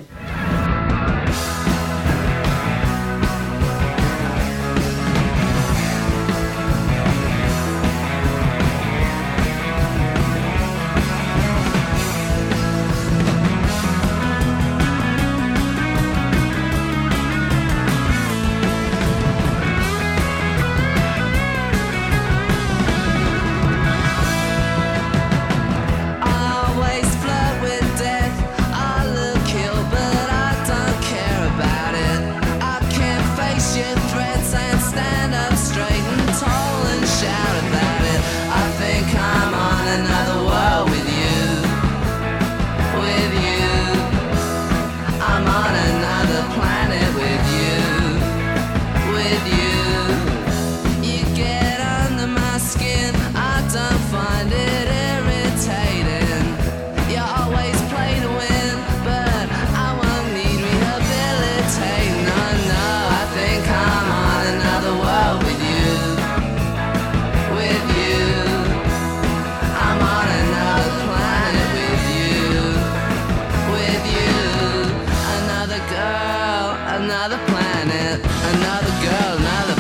Always flirt with death. I look ill, but I don't care about it. I can't face your threats and stand up straight and tall and shout about it. I think I'm on another world with you. With you. I'm on another planet with you. With you. You get under my skin, I don't find it irritating. You always play to win, but I won't need rehabilitating. No, no, I think I'm on another world with you. With you. I'm on another planet with you with you. Another girl, another planet, another girl, another